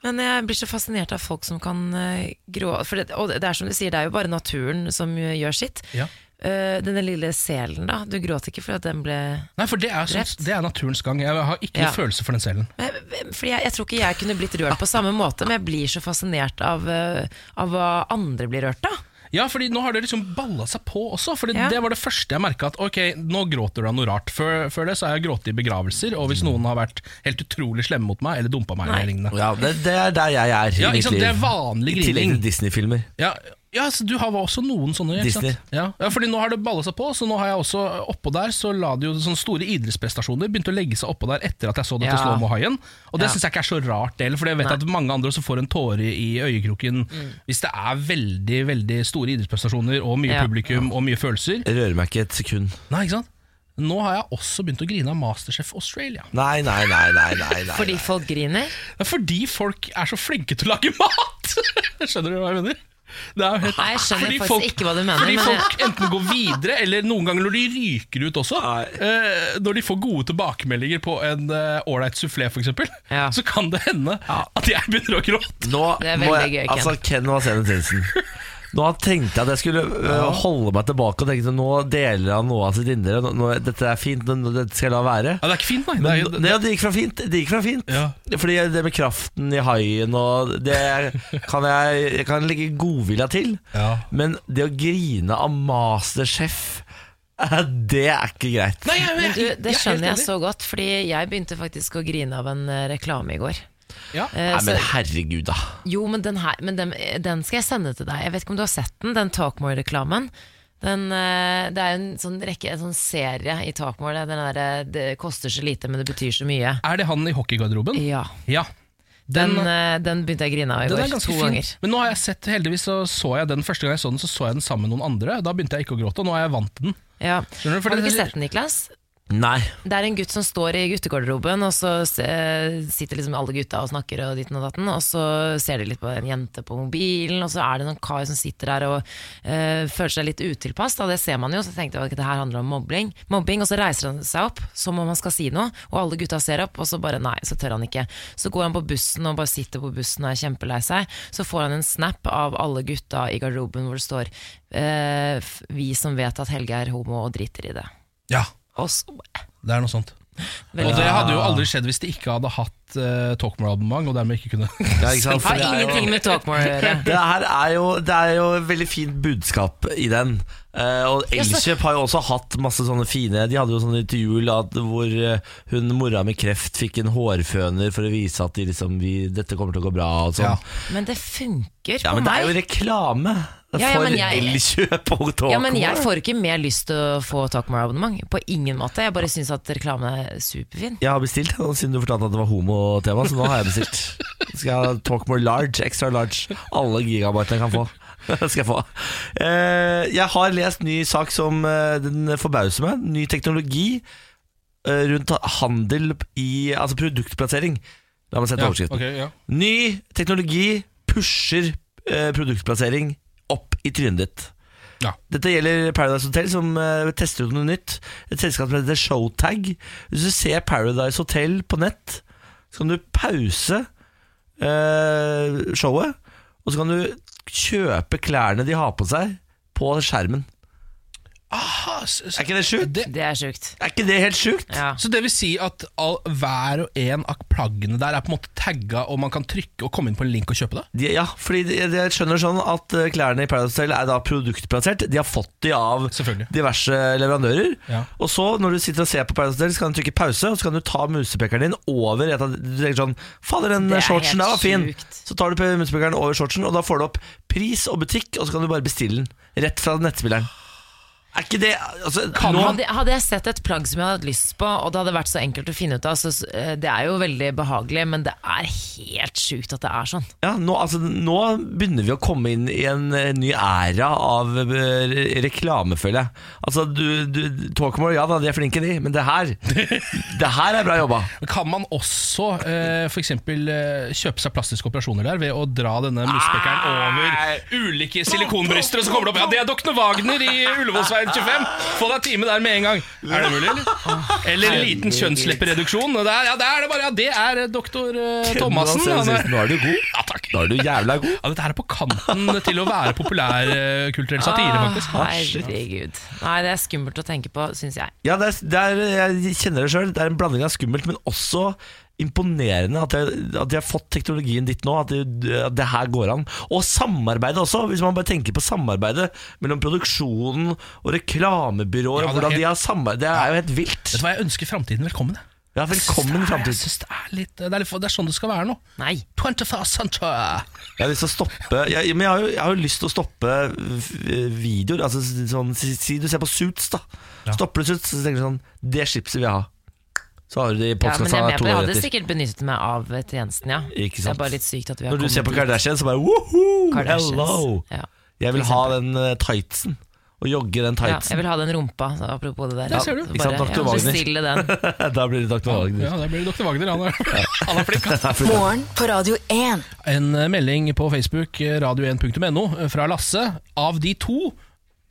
B: men jeg blir så fascinert av folk som kan eh, grå For det, og det er som du sier, det er jo bare naturen som gjør sitt.
C: Ja.
B: Eh, denne lille selen, da. Du gråt ikke for at den ble
C: Nei, for det er, sånn,
B: Drept.
C: det er naturens gang. Jeg har ikke
B: Ja.
C: noen følelse for den selen.
B: Men- men- Fordi jeg, jeg tror ikke jeg kunne blitt rørt på samme måte, men jeg blir så fascinert av, eh, av hva andre blir rørt av.
C: Ja, fordi nå har det liksom balla seg på også. Fordi
B: Ja.
C: Det var det første jeg merka. At ok, nå gråter du av noe rart. Før, før det så har jeg grått i begravelser, og hvis noen har vært helt utrolig slemme mot meg eller dumpa meg,
B: Nei.
C: eller lignende.
A: Ja, det, det er der jeg er. i
C: Ja,
A: mitt
C: ikke
A: liv.
C: sant? Det er vanlig
A: I tillegg
C: grining.
A: til Disney-filmer.
C: Ja, ja, så du har også noen sånne. ikke
A: Disney.
C: Sant? Ja. ja, fordi nå har det balla seg på, så nå har jeg også oppå der Så la det jo sånne store idrettsprestasjoner begynte å legge seg oppå der etter at jeg så dette
B: Ja.
C: ja. slåmåhaien. Og det
B: Ja.
C: syns jeg ikke er så rart, det heller, for jeg vet at mange andre også får en tåre i øyekroken
B: Mm.
C: hvis det er veldig veldig store idrettsprestasjoner og mye
B: Ja.
C: publikum og mye følelser.
A: Rører meg ikke et sekund.
C: Nei, ikke sant? Nå har jeg også begynt å grine av Masterchef Australia.
A: Nei, nei, nei. nei, nei, nei.
B: Fordi folk griner?
C: Det er Fordi folk er så flinke til å lage mat! skjønner du hva jeg mener? Det er jo helt,
B: Nei, jeg skjønner
C: fordi
B: faktisk ikke hva du mener,
C: Fordi
B: men
C: folk enten går videre, eller noen ganger når de ryker ut også.
A: Nei.
C: Eh, når de får gode tilbakemeldinger på en eh, ålreit sufflé, f.eks.,
B: Ja.
C: så kan det hende at jeg begynner å gråte.
A: Nå
B: Det er
A: må
B: veldig
A: jeg,
B: gøy, Ken.
A: Altså, Ken og Sene Tinsen. Nå tenkte jeg at jeg skulle øh, holde meg tilbake og tenke at nå deler han noe av sitt indre. Nå, nå, dette er fint, nå, nå, dette skal jeg la være.
C: Ja, det er ikke fint, nei.
A: Men
C: Det
A: nå-
C: er,
A: nei, det gikk fra fint. Det gikk fra fint.
C: Ja.
A: Fordi det med kraften i haien og Det kan jeg, jeg kan legge godvilja til.
C: Ja.
A: Men det å grine av Masterchef, eh, det er ikke greit.
C: Nei, jeg,
B: Men du,
C: jeg-
B: det
C: jeg er helt
B: skjønner jeg
C: enig.
B: så godt, fordi jeg begynte faktisk å grine av en eh, reklame i går.
C: Ja.
B: Eh,
A: Nei,
B: så-
A: men herregud, da.
B: Jo, men, den, her, men den, den skal jeg sende til deg. Jeg vet ikke om du har sett den, den Talkmore-reklamen. Den, eh, det er en sånn rekke, en sånn serie i Talkmore. det er Den der, eh, det koster så lite, men det betyr så mye.
C: Er det han i hockeygarderoben?
B: Ja.
C: Ja.
B: Den, eh, den begynte jeg å grine av i
C: Den er
B: går.
C: ganske
B: To
C: fin.
B: ganger.
C: Men nå har jeg sett, heldigvis så, så jeg den første gang jeg så den, så så jeg den sammen med noen andre. Da begynte jeg ikke å gråte, og nå er jeg vant til den.
B: Ja.
C: Skjønner du? For
B: Har du
C: det-
B: ikke sett den, Niklas?
A: Nei.
B: Det er en gutt som står i guttegarderoben, og så eh, sitter liksom alle gutta og snakker og ditten og datten, og så ser de litt på en jente på mobilen, og så er det noen kar som sitter der og eh, føler seg litt utilpass, da det ser man jo, så tenkte jeg at det her handler om mobbing, mobbing, og så reiser han seg opp, som om han skal si noe, og alle gutta ser opp, og så bare nei, så tør han ikke. Så går han på bussen og bare sitter på bussen og er kjempelei seg, så får han en snap av alle gutta i garderoben hvor det står eh, f- vi som vet at Helge er homo og driter i det.
C: Ja,
B: Og så,
C: det er noe sånt. Og
B: Veldig
C: det hadde jo aldri skjedd hvis de ikke hadde hatt uh, Talkmore-abonnement, og dermed ikke kunne
A: Ja, ikke sant? For
B: Har
A: det er jo-
B: ingenting med Talkmore å gjøre.
A: Det her er jo, det er jo et veldig fint budskap i den. Eh, og
B: Ja, så-
A: Elkjøp har jo også hatt masse sånne fine De hadde jo sånn til jul at, hvor eh, hun mora med kreft fikk en hårføner for å vise at de liksom, vi, dette kommer til å gå bra og sånn.
C: Ja.
A: Ja.
B: Men det funker
A: men
B: på
A: det er
B: meg.
A: jo reklame for
B: Ja, ja, men jeg-
A: Elkjøp og Talkmore.
B: Ja, men jeg får ikke mer lyst til å få Talkmore-abonnement. På ingen måte. Jeg bare syns at reklame er superfin.
A: Jeg har bestilt, og siden du fortalte at det var homotema, så nå har jeg bestilt. Så Skal jeg ha Talkmore large, extra large, alle gigabytene jeg kan få. Det skal jeg få. Eh, jeg har lest ny sak som eh, den forbauser meg. Ny teknologi eh, rundt handel i Altså produktplassering. La meg sette overskriften.
C: ok, ja.
A: Ny teknologi pusher eh, produktplassering opp i trynet ditt.
C: Ja.
A: Dette gjelder Paradise Hotel, som eh, tester ut noe nytt. Et selskap som heter Showtag. Hvis du ser Paradise Hotel på nett, så kan du pause eh, showet, og så kan du kjøpe klærne de har på seg, på skjermen.
C: Aha, Ah, s- s-
A: Er ikke det sjukt?
C: det,
B: Det er sjukt.
A: Er ikke det helt sjukt?
B: Ja.
C: så det vil si at all, hver og en av plaggene der er på en måte tagga, og man kan trykke og komme inn på en link og kjøpe det?
A: De, ja, fordi de- jeg skjønner sånn at eh, klærne i Paradise Hotel er da produktplassert. De har fått de av
C: Selvfølgelig.
A: diverse leverandører.
C: Ja.
A: Og så, når du sitter og ser på Paradise Hotel, så kan du trykke pause, og så kan du ta musepekeren din over et av Du tenker sånn Fader, den
B: Det er
A: shortsen der
B: helt
A: var fin!
B: sjukt.
A: Så tar du musepekeren over shortsen, og da får du opp pris og butikk, og så kan du bare bestille den rett fra nettspilleren. Er ikke det altså,
C: Kan
A: nå,
C: man-
B: Hadde, hadde jeg sett et plagg som jeg hadde hatt lyst på, og det hadde vært så enkelt å finne ut av så, s- eh, Det er jo veldig behagelig, men det er helt sjukt at det er sånn.
A: ja, nå, altså, nå begynner vi å komme inn i en eh, ny æra av eh, re- reklame, føler jeg. Altså, du, du Talkmore, ja da, de er flinke, de, men det her Det her er bra jobba.
C: Men Kan man også eh, for eksempel, eh, kjøpe seg plastiske operasjoner der ved å dra denne muspekeren over ulike silikonbryster, og så kommer det opp Ja, det er Dokne Wagner i Ullevålsveien 25! Få deg time der med en gang! Er det mulig, eller? Eller en liten kjønnsleppereduksjon. og Der, ja, der er det bare, ja, det er doktor eh, Thomassen.
A: Nå
C: han er-
A: er du god.
C: Ja, takk.
A: Nå er du jævla god.
C: Ja, dette her er på kanten til å være populærkulturell satire, faktisk.
B: Ah, Herregud. Nei, det er skummelt å tenke på, syns jeg.
A: Ja, det er, det er, jeg kjenner det sjøl. Det er en blanding av skummelt, men også imponerende at de, at de har fått teknologien dit nå, at, de, at det her går an. Og samarbeidet også, hvis man bare tenker på samarbeidet mellom produksjonen og reklamebyråer.
C: Ja, det er
A: hvordan
C: helt-
A: de har samarbeid, Det er jo helt vilt.
C: Vet du hva, jeg ønsker framtiden velkommen. jeg.
A: Ja, velkommen i
C: Jeg
A: framtiden.
C: synes det, er litt, det, er litt, det er sånn det skal være nå.
B: Nei.
C: 21st century!
A: Jeg har lyst til å stoppe jeg, Men jeg har, jo, jeg har jo lyst til å stoppe eh, videoer. Altså sånn, si, si du ser på Suits, da. Stopper du Suits, så tenker du sånn Det chipset vil jeg ha. Så har du det i
B: Ja, men jeg,
A: postkassa
B: er med
A: to
B: på, det. jeg
A: år
B: hadde
A: etter.
B: sikkert benyttet meg av tjenesten, ja.
A: Ikke
B: Det
A: sant.
B: er bare litt sykt at vi har
A: Når du ser på
B: dit.
A: Kardashian, så bare woho,
B: Kardashians.
A: hello!
B: Ja.
A: Jeg vil
B: For
A: ha
B: eksempel.
A: den eh, tightsen. Og jogge den
B: ja, jeg
A: tightsen.
B: vil ha den rumpa, apropos det der.
C: Der ser du.
A: Ikke sant, Dr.
B: ja,
A: Wagner.
B: bestille den.
A: da blir det Dr. Wagner.
C: Ja, der blir det Dr. Wagner. Han er, han er flink. ass.
E: Morgen på Radio 1.
C: En eh, melding på Facebook, eh, radio1.no, eh, fra Lasse. Av de to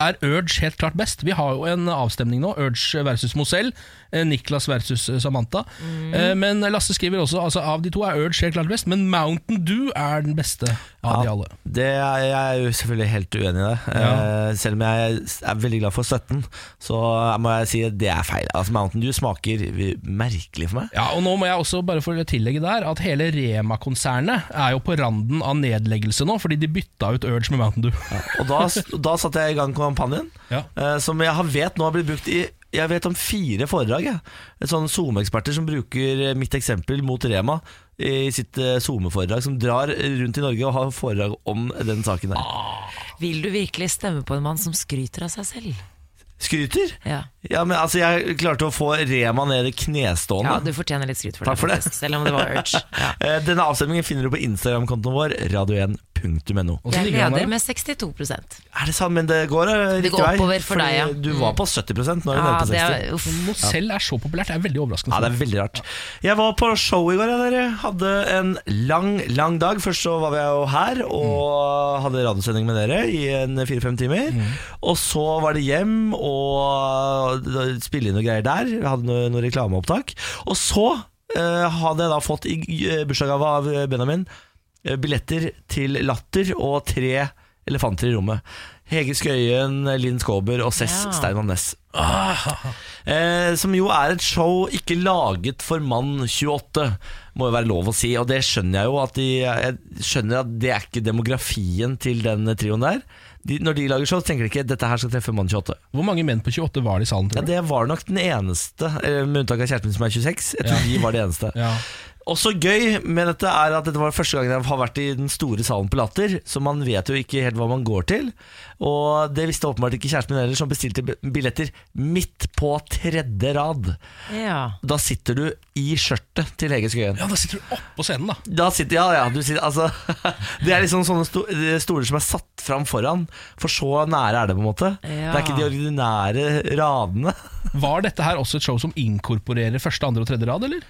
C: er Urge helt klart best. Vi har jo en avstemning nå. Urge versus Mozell. eh, Niklas versus eh, Samantha.
E: Mm.
C: Eh, Men Lasse skriver også altså, av de to er Urge helt klart best, men Mountain Dew er den beste av de alle.
A: Det er, jeg er jo selvfølgelig helt uenig i det. Eh, selv om jeg er veldig glad for støtten, så må jeg si at det er feil. Altså Mountain Dew smaker merkelig for meg.
C: Ja, og nå må jeg også bare få tillegge der at hele Rema-konsernet er jo på randen av nedleggelse nå, fordi de bytta ut Urge med Mountain Dew.
A: Og da, og da satte jeg i gang kampanjen,
C: Ja.
A: eh, som jeg har vet nå har blitt brukt i jeg vet om fire foredrag. Jeg. Sånne SoMe-eksperter som bruker eh, mitt eksempel mot Rema i sitt eh, SoMe-foredrag. Som drar rundt i Norge og har foredrag om den saken
C: Ah.
A: der.
B: Vil du virkelig stemme på en mann som skryter av seg selv?
A: Skryter?
B: Ja,
A: Ja, men altså Jeg klarte å få Rema ned i knestående.
B: ja du fortjener litt skryt for
A: Takk
B: det,
A: for det.
B: faktisk, selv om det var urge. Ja.
A: Eh, Denne avstemningen finner du på Instagram-kontoen vår, radio1.no.
C: Og så
B: Jeg
C: ligger han
B: leder
C: der.
B: med 62
A: Er det sant, men det går eh,
B: Det
A: riktig
B: går
A: vei?
B: oppover for
A: Fordi
B: deg, ja. Mm.
A: Du var på 70 nå er du
B: Ja,
A: nede på 60.
B: det er, uff.
C: Mozell er så populært, det er veldig overraskende.
A: Ja, det er veldig rart. Jeg var på show i går. Jeg, dere. Hadde en lang, lang dag. Først så var vi jo her og hadde radiosending med dere i en fire-fem timer. Og så var det hjem og da- spille inn noe greier der. Vi hadde noe, noe reklameopptak. Og så eh, hadde jeg da fått i eh, bursdagsgave av Benjamin eh, billetter til Latter og tre elefanter i rommet. Hege Skøyen, Linn Skåber og Cess
B: Ja.
A: Steinmann Næss. Eh, som jo er et show ikke laget for mann 28, må jo være lov å si. Og det skjønner jeg jo, at de, jeg skjønner at det er ikke demografien til den trioen der. De, når de lager show, så tenker de ikke dette her skal treffe mann 28.
C: Hvor mange menn på 28 var det i salen,
A: Ja,
C: tror du?
A: det var nok den eneste, eh, med unntak av kjæresten min som er 26. Jeg tror de var de eneste.
C: Ja.
A: Også gøy med dette er at dette var første gangen jeg har vært i den store salen på Latter, så man vet jo ikke helt hva man går til. Og det visste åpenbart ikke kjæresten min heller, som bestilte bi- billetter midt på tredje rad.
B: Ja.
A: Da sitter du i skjørtet til Hege Skøyen.
C: ja, da sitter du oppå scenen, da.
A: Da sitter, ja, ja, du sitter, altså, det er liksom sånne sto stoler som er satt fram foran, for så nære er det på en måte.
B: Ja.
A: Det er ikke de ordinære radene.
C: Var dette her også et show som inkorporerer første, andre og tredje rad, eller?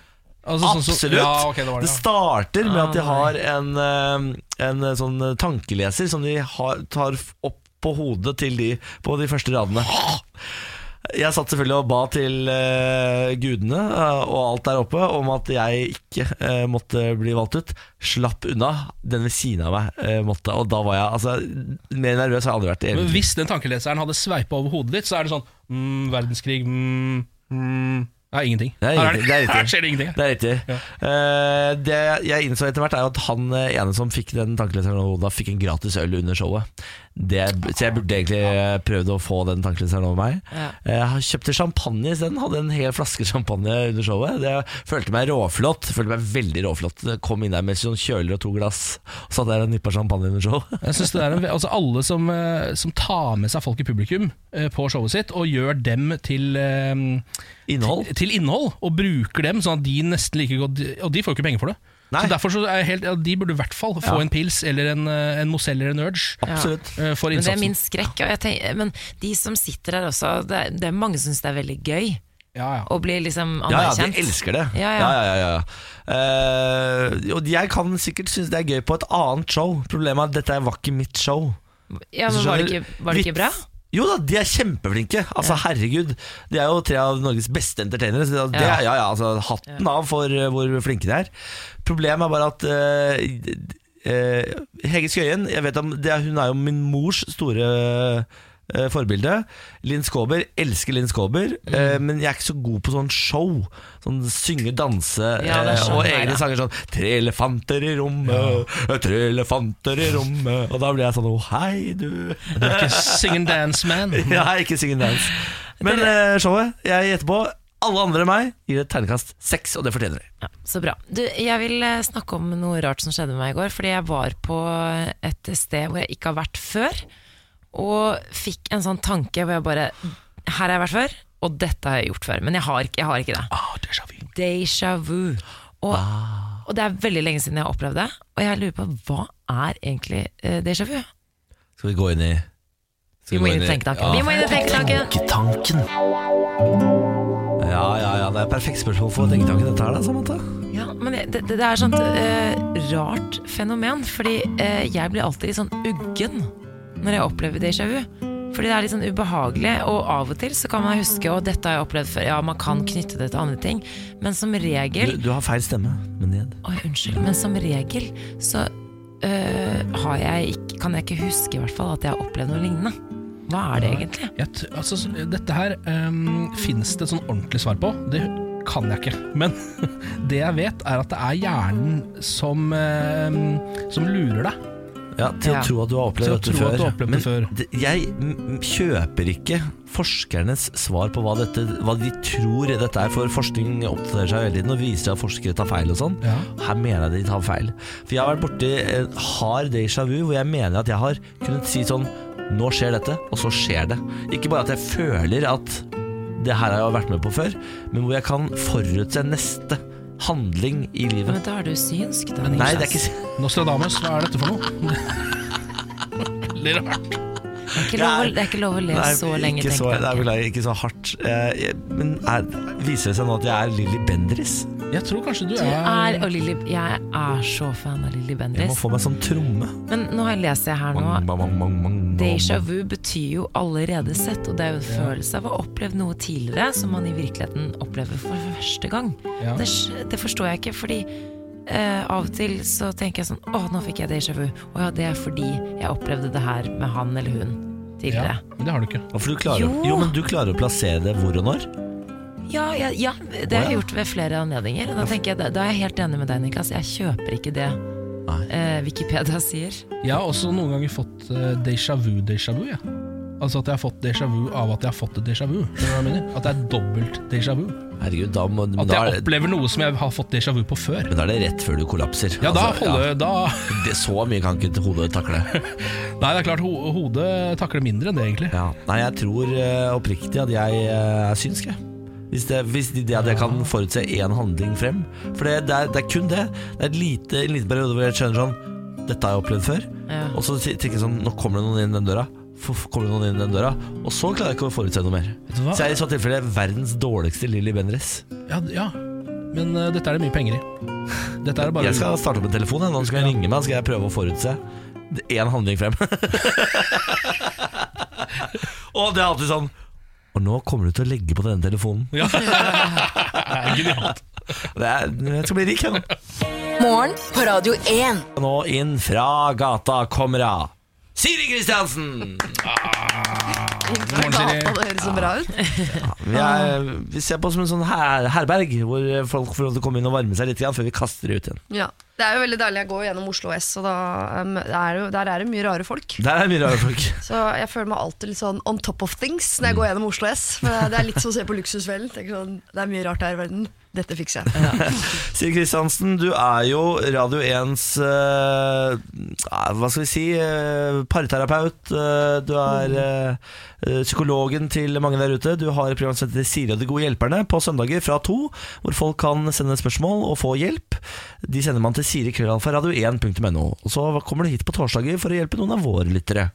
C: Altså, sånn som-
A: Absolutt!
C: ja, ok, det var det, ja.
A: starter med at de
B: Ah,
A: har en, eh, en eh, sånn eh, tankeleser som de har, tar f- opp på hodet til de på de første radene. Jeg satt selvfølgelig og ba til eh, gudene eh, og alt der oppe om at jeg ikke eh, måtte bli valgt ut. Slapp unna. Den ved siden av meg eh, måtte. Og da var jeg altså, mer nervøs har jeg aldri vært i hele
C: Men
A: mitt liv.
C: hvis den tankeleseren hadde sveipa over hodet ditt, så er det sånn mm, Verdenskrig mm, mm. Nei, ingenting.
A: Det er
C: Her
A: ingenting, det er ingenting.
C: Her skjer det ingenting.
A: Det er riktig. Eh, det jeg innså etter hvert, er jo at han eh, ene som fikk den tankeleseren over hodet, fikk en gratis øl under showet. Det, så jeg burde egentlig eh, prøvd å få den tankeleseren over meg.
B: Ja.
A: Eh, Jeg kjøpte champagne isteden. Hadde en hel flaske champagne under showet. Det følte meg råflott. Følte meg veldig råflott. Jeg Kom inn der med sånn kjøler og to glass. Og satt der og nippa champagne under showet.
C: Jeg synes det er en, ve- altså Alle som, eh, som tar med seg folk i publikum eh, på showet sitt, og gjør dem til, eh,
A: Innhold.
C: til innhold, og bruker dem sånn at de nesten like godt Og de får jo ikke penger for det.
A: Nei.
C: Så derfor så er jeg helt, ja, De burde i hvert fall få
A: Ja.
C: en pils eller en, eh, en Mozell eller en Urge
A: Absolutt.
C: eh, for
B: Men det er
C: innsatsen.
B: min skrekk. Og jeg tenker, men de som sitter der også, det er, det er mange som syns det er veldig gøy
C: ja, ja.
B: å bli liksom
A: Ja, ja,
B: anerkjent.
A: de elsker det.
B: Ja, ja.
A: ja, ja, ja. Eh, og jeg kan sikkert synes det er gøy på et annet show. Problemet er at dette var ikke mitt show.
B: Ja, men var det ikke, var det ikke bra?
A: Jo da, de er kjempeflinke. Altså Herregud. De er jo tre av Norges beste entertainere. Så det,
B: Ja.
A: ja. Ja, ja, altså, hatten av for eh, hvor flinke de er. Problemet er bare at eh, eh, Hege Skøyen jeg vet om, det er, Hun er jo min mors store eh, forbilde. Linn Skåber. Elsker Linn Skåber. eh,
B: Mm.
A: men jeg er ikke så god på sånn show. Sånn synge, danse
B: Ja, det
A: eh,
B: skjønner
A: og
B: jeg,
A: egne
B: da.
A: sanger sånn Tre elefanter i rommet, tre elefanter i rommet. Og da blir jeg sånn Å, hei, du.
C: Du er ikke sing and dance man.
A: Ja, ikke sing and dance. Men eh, showet jeg gjetter på, alle andre enn meg, gir et ternekast seks, og det fortjener de.
B: Ja, så bra. Du, jeg vil eh, snakke om noe rart som skjedde med meg i går. Fordi jeg var på et sted hvor jeg ikke har vært før, og fikk en sånn tanke hvor jeg bare Her har jeg vært før, og dette har jeg gjort før. Men jeg har ikke, jeg har ikke det.
C: Ah, déjà vu.
B: Deja vu. Ah. Og, og det er veldig lenge siden jeg har opplevd det. Og jeg lurer på hva er egentlig uh, deja vu?
A: Skal vi gå inn i
B: Vi må inn i tenketanken. Vi må inn i tenketanken.
A: Tenketanken. Ja, ja, ja. Det er et perfekt spørsmål for tenketanken, dette her, da, Samantha.
B: Ja, men det, det, det er et sånt eh, rart fenomen, fordi eh, jeg blir alltid litt sånn uggen når jeg opplever déjà vu. Fordi det er litt sånn ubehagelig, og av og til så kan man huske å dette har jeg opplevd før. Ja, man kan knytte det til andre ting, men som regel
A: Du, du har feil stemme, men ned.
B: Oi, unnskyld, men som regel så øh, har jeg ikke, kan jeg ikke huske i hvert fall at jeg har opplevd noe lignende. Hva er det egentlig?
C: Jeg t altså, s- dette her um, finnes det et sånn ordentlig svar på. Det kan jeg ikke. Men det jeg vet, er at det er hjernen som, ehm, som lurer deg.
A: Ja, Til
B: Ja.
A: å tro at du har
C: Til
A: opplevd
C: å
A: dette
C: tro at
A: før.
C: du har opplevd det
A: Men
C: før.
A: d- jeg mm, kjøper ikke forskernes svar på hva, dette, hva de tror dette er, for forskning oppdaterer seg hele tiden og viser at forskere tar feil og sånn.
C: Ja.
A: Her mener jeg de tar feil. For jeg har vært borti en hard déjà vu hvor jeg mener at jeg har kunnet si sånn Nå skjer dette, og så skjer det. Ikke bare at jeg føler at det her har jeg vært med på før, men hvor jeg kan forutse neste handling i livet.
B: Men da er du synsk, da.
A: Nei, det er
B: Niklas.
A: ikke
C: Nostradamus, hva er dette for noe? Veldig rart.
B: Det er ikke lov å, det er ikke lov å le
A: Nei,
B: så lenge,
A: ikke så,
B: tenker
A: nei,
B: jeg.
A: beklager, ikke så hardt. Eh, jeg- men er, viser det seg nå at jeg er Lilly Bendriss?
C: Jeg tror kanskje du
B: Du er, og Lilly, jeg er så fan av Lilly
A: Jeg må
B: Bendriss.
A: få meg sånn tromme.
B: Men nå har jeg lest det her nå.
A: Bang, bang, bang, bang, bang,
B: Déjà
A: bang.
B: vu betyr jo allerede sett, og det er jo en følelse av å ha opplevd noe tidligere som man i virkeligheten opplever for første gang.
C: Ja.
B: Det, sk- det forstår jeg ikke, fordi eh, av og til så tenker jeg sånn Å, nå fikk jeg déjà vu. Å ja, det er fordi jeg opplevde det her med han eller hun
C: ja,
B: tidligere.
C: Men det har du ikke.
A: Ja, for du klarer,
B: Jo.
A: jo. men du klarer å plassere det hvor og når.
B: Ja, ja, ja det har jeg gjort ved flere anledninger. Da, tenker jeg, da er jeg helt enig med deg, Niklas. Jeg kjøper ikke det
A: Nei.
B: eh, Wikipedia sier.
C: Jeg har også noen ganger fått eh, déjà vu, déjà vu. jeg. Altså at jeg har fått déjà vu av at jeg har fått et déjà vu. Skjønner du hva jeg mener? At det er dobbelt déjà vu.
A: Herregud, da må men
C: At
A: da, er,
C: jeg
A: det-
C: opplever noe som jeg har fått déjà vu på før.
A: men da er det rett før du kollapser.
C: Ja, da
A: Altså,
C: holder
A: ja,
C: da
A: det, Så mye kan ikke hodet takle.
C: Nei, det er klart, ho hodet takler mindre enn det, egentlig.
A: Ja. Nei, jeg tror eh, oppriktig at jeg eh, er synsk, jeg. Hvis, det, hvis det, det at jeg kan forutse én handling frem. For det, det, er, det er kun det. Det er et lite, en liten periode hvor jeg skjønner sånn Dette har jeg opplevd før.
B: Ja.
A: Og så tenker jeg sånn, nå kommer det noen inn den døra F- f- Kommer det noen inn den døra Og så klarer jeg ikke å forutse noe mer
C: du hva?
A: Så jeg er i så tilfelle verdens dårligste Lilly Bendriss
C: Ja, ja. Men eh, dette er det mye penger i. Dette er det bare
A: Jeg skal starte opp en telefon, jeg. nå skal jeg ringe meg Skal jeg prøve å forutse det- En handling frem Og det er alltid sånn Og nå kommer du til å legge på denne telefonen
C: Ja. Genialt.
A: Det er, Jeg skal bli rik jeg nå
E: Morgen på Radio 1.
A: Nå inn fra gata kommer jeg Siri Kristiansen
C: Morgen, Siri.
D: Gata, det høres så bra ut.
A: vi, er, vi ser på som en sånn her, herberg Hvor folk får lov til å komme inn og varme seg litt igjen Før vi kaster det ut igjen
D: Ja. Det er jo veldig deilig. Jeg går jo gjennom Oslo S, og da, um, det er jo, der er det mye rare folk.
A: Der er mye rare folk.
D: Så jeg føler meg alltid litt sånn on top of things når jeg går gjennom Oslo S. For det er litt som å se på Luksusfellen. Tenker Sånn, det er mye rart her i verden. Dette fikser jeg.
A: Siv Kristiansen, du er jo Radio 1s eh, ah, Hva skal vi si? eh, parterapeut. eh, du er eh, psykologen til mange der ute. Du har et program som heter Siri og de gode hjelperne på søndager fra to, hvor folk kan sende spørsmål og få hjelp. De sender man til sirikrøllalfaradio1.no. Og så kommer du hit på torsdager for å hjelpe noen av våre lyttere.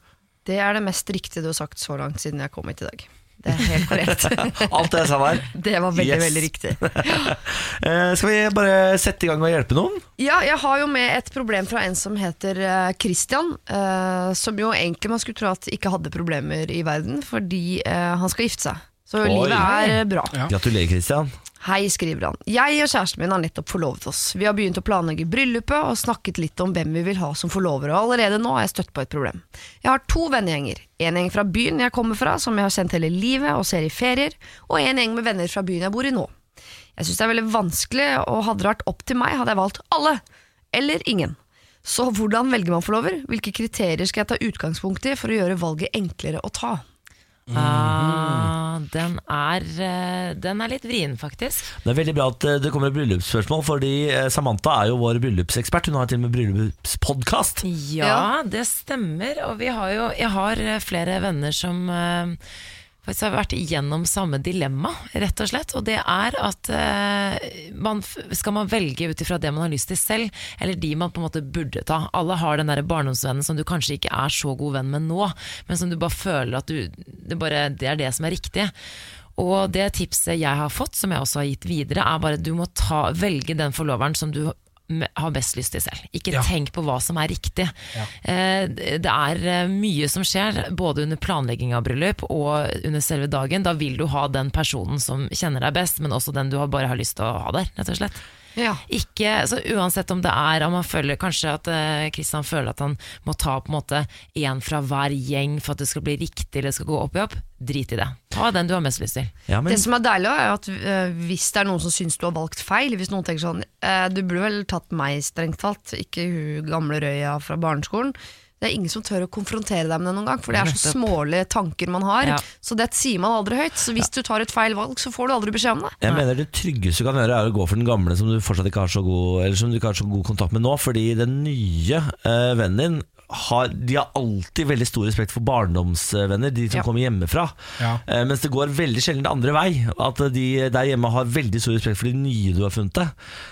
D: Det er det mest riktige du har sagt så langt siden jeg kom hit i dag. Det er helt korrekt.
A: Alt det jeg sa der.
D: Det var veldig,
A: Yes.
D: veldig riktig.
A: Eh, skal vi bare sette i gang med å hjelpe noen?
D: Ja, jeg har jo med et problem fra en som heter eh, Christian, eh, som jo egentlig man skulle tro at ikke hadde problemer i verden, fordi eh, han skal gifte seg. Så
A: Oi.
D: livet er eh, bra.
C: Ja.
A: Gratulerer, Kristian.
D: Hei, skriver han. Jeg og kjæresten min har nettopp forlovet oss. Vi har begynt å planlegge bryllupet og snakket litt om hvem vi vil ha som forlovere, og allerede nå har jeg støtt på et problem. Jeg har to vennegjenger. En gjeng fra byen jeg kommer fra, som jeg har kjent hele livet og ser i ferier, og en gjeng med venner fra byen jeg bor i nå. Jeg synes det er veldig vanskelig, og hadde det vært opp til meg, hadde jeg valgt alle, eller ingen. Så hvordan velger man forlover? Hvilke kriterier skal jeg ta utgangspunkt i for å gjøre valget enklere å ta?
B: Ah, den, er, eh, den er litt vrien, faktisk.
A: Det er veldig bra at eh, det kommer et bryllupsspørsmål, fordi eh, Samantha er jo vår bryllupsekspert. Hun har til og med bryllupspodkast.
B: Ja, det stemmer. Og vi har jo, jeg har eh, flere venner som eh, faktisk har vært igjennom samme dilemma, rett og slett. Og det er at eh, man, f- skal man velge ut ifra det man har lyst til selv, eller de man på en måte burde ta. Alle har den derre barndomsvennen som du kanskje ikke er så god venn med nå, men som du bare føler at du Det, bare, det er det som er riktig. Og det tipset jeg har fått, som jeg også har gitt videre, er bare at du må ta, velge den forloveren som du m- har best lyst til selv. Ikke tenk på hva som er riktig. Eh, d- Det er eh, mye som skjer, både under planlegging av bryllup og under selve dagen. Da vil du ha den personen som kjenner deg best, men også den du har- bare har lyst til å ha der, rett og slett.
D: Ja.
B: Ikke, så uansett om det er om han føler kanskje at eh, Kristian føler at han må ta på en måte én fra hver gjeng for at det skal bli riktig eller det skal gå opp i opp, drit i det. Ta den du har mest lyst til.
A: Ja, men
D: Det som er deilig, er at eh, hvis det er noen som syns du har valgt feil Hvis noen tenker sånn eh, Du burde vel tatt meg, strengt talt, ikke hun gamle røya fra barneskolen. Det er ingen som tør å konfrontere deg med det noen gang, for det er så smålige tanker man har.
B: Ja.
D: Så det sier man aldri høyt. Så hvis du tar et feil valg, så får du aldri beskjed om det.
A: jeg mener det tryggeste du kan gjøre, er å gå for den gamle som du fortsatt ikke har så god, eller som du ikke har så god kontakt med nå. Fordi den nye eh, vennen din har, de har alltid veldig stor respekt for barndomsvenner, de som
D: Ja.
A: kommer hjemmefra.
C: Ja.
A: Eh, mens det går veldig sjelden andre vei. At de der hjemme har veldig stor respekt for de nye du har funnet deg.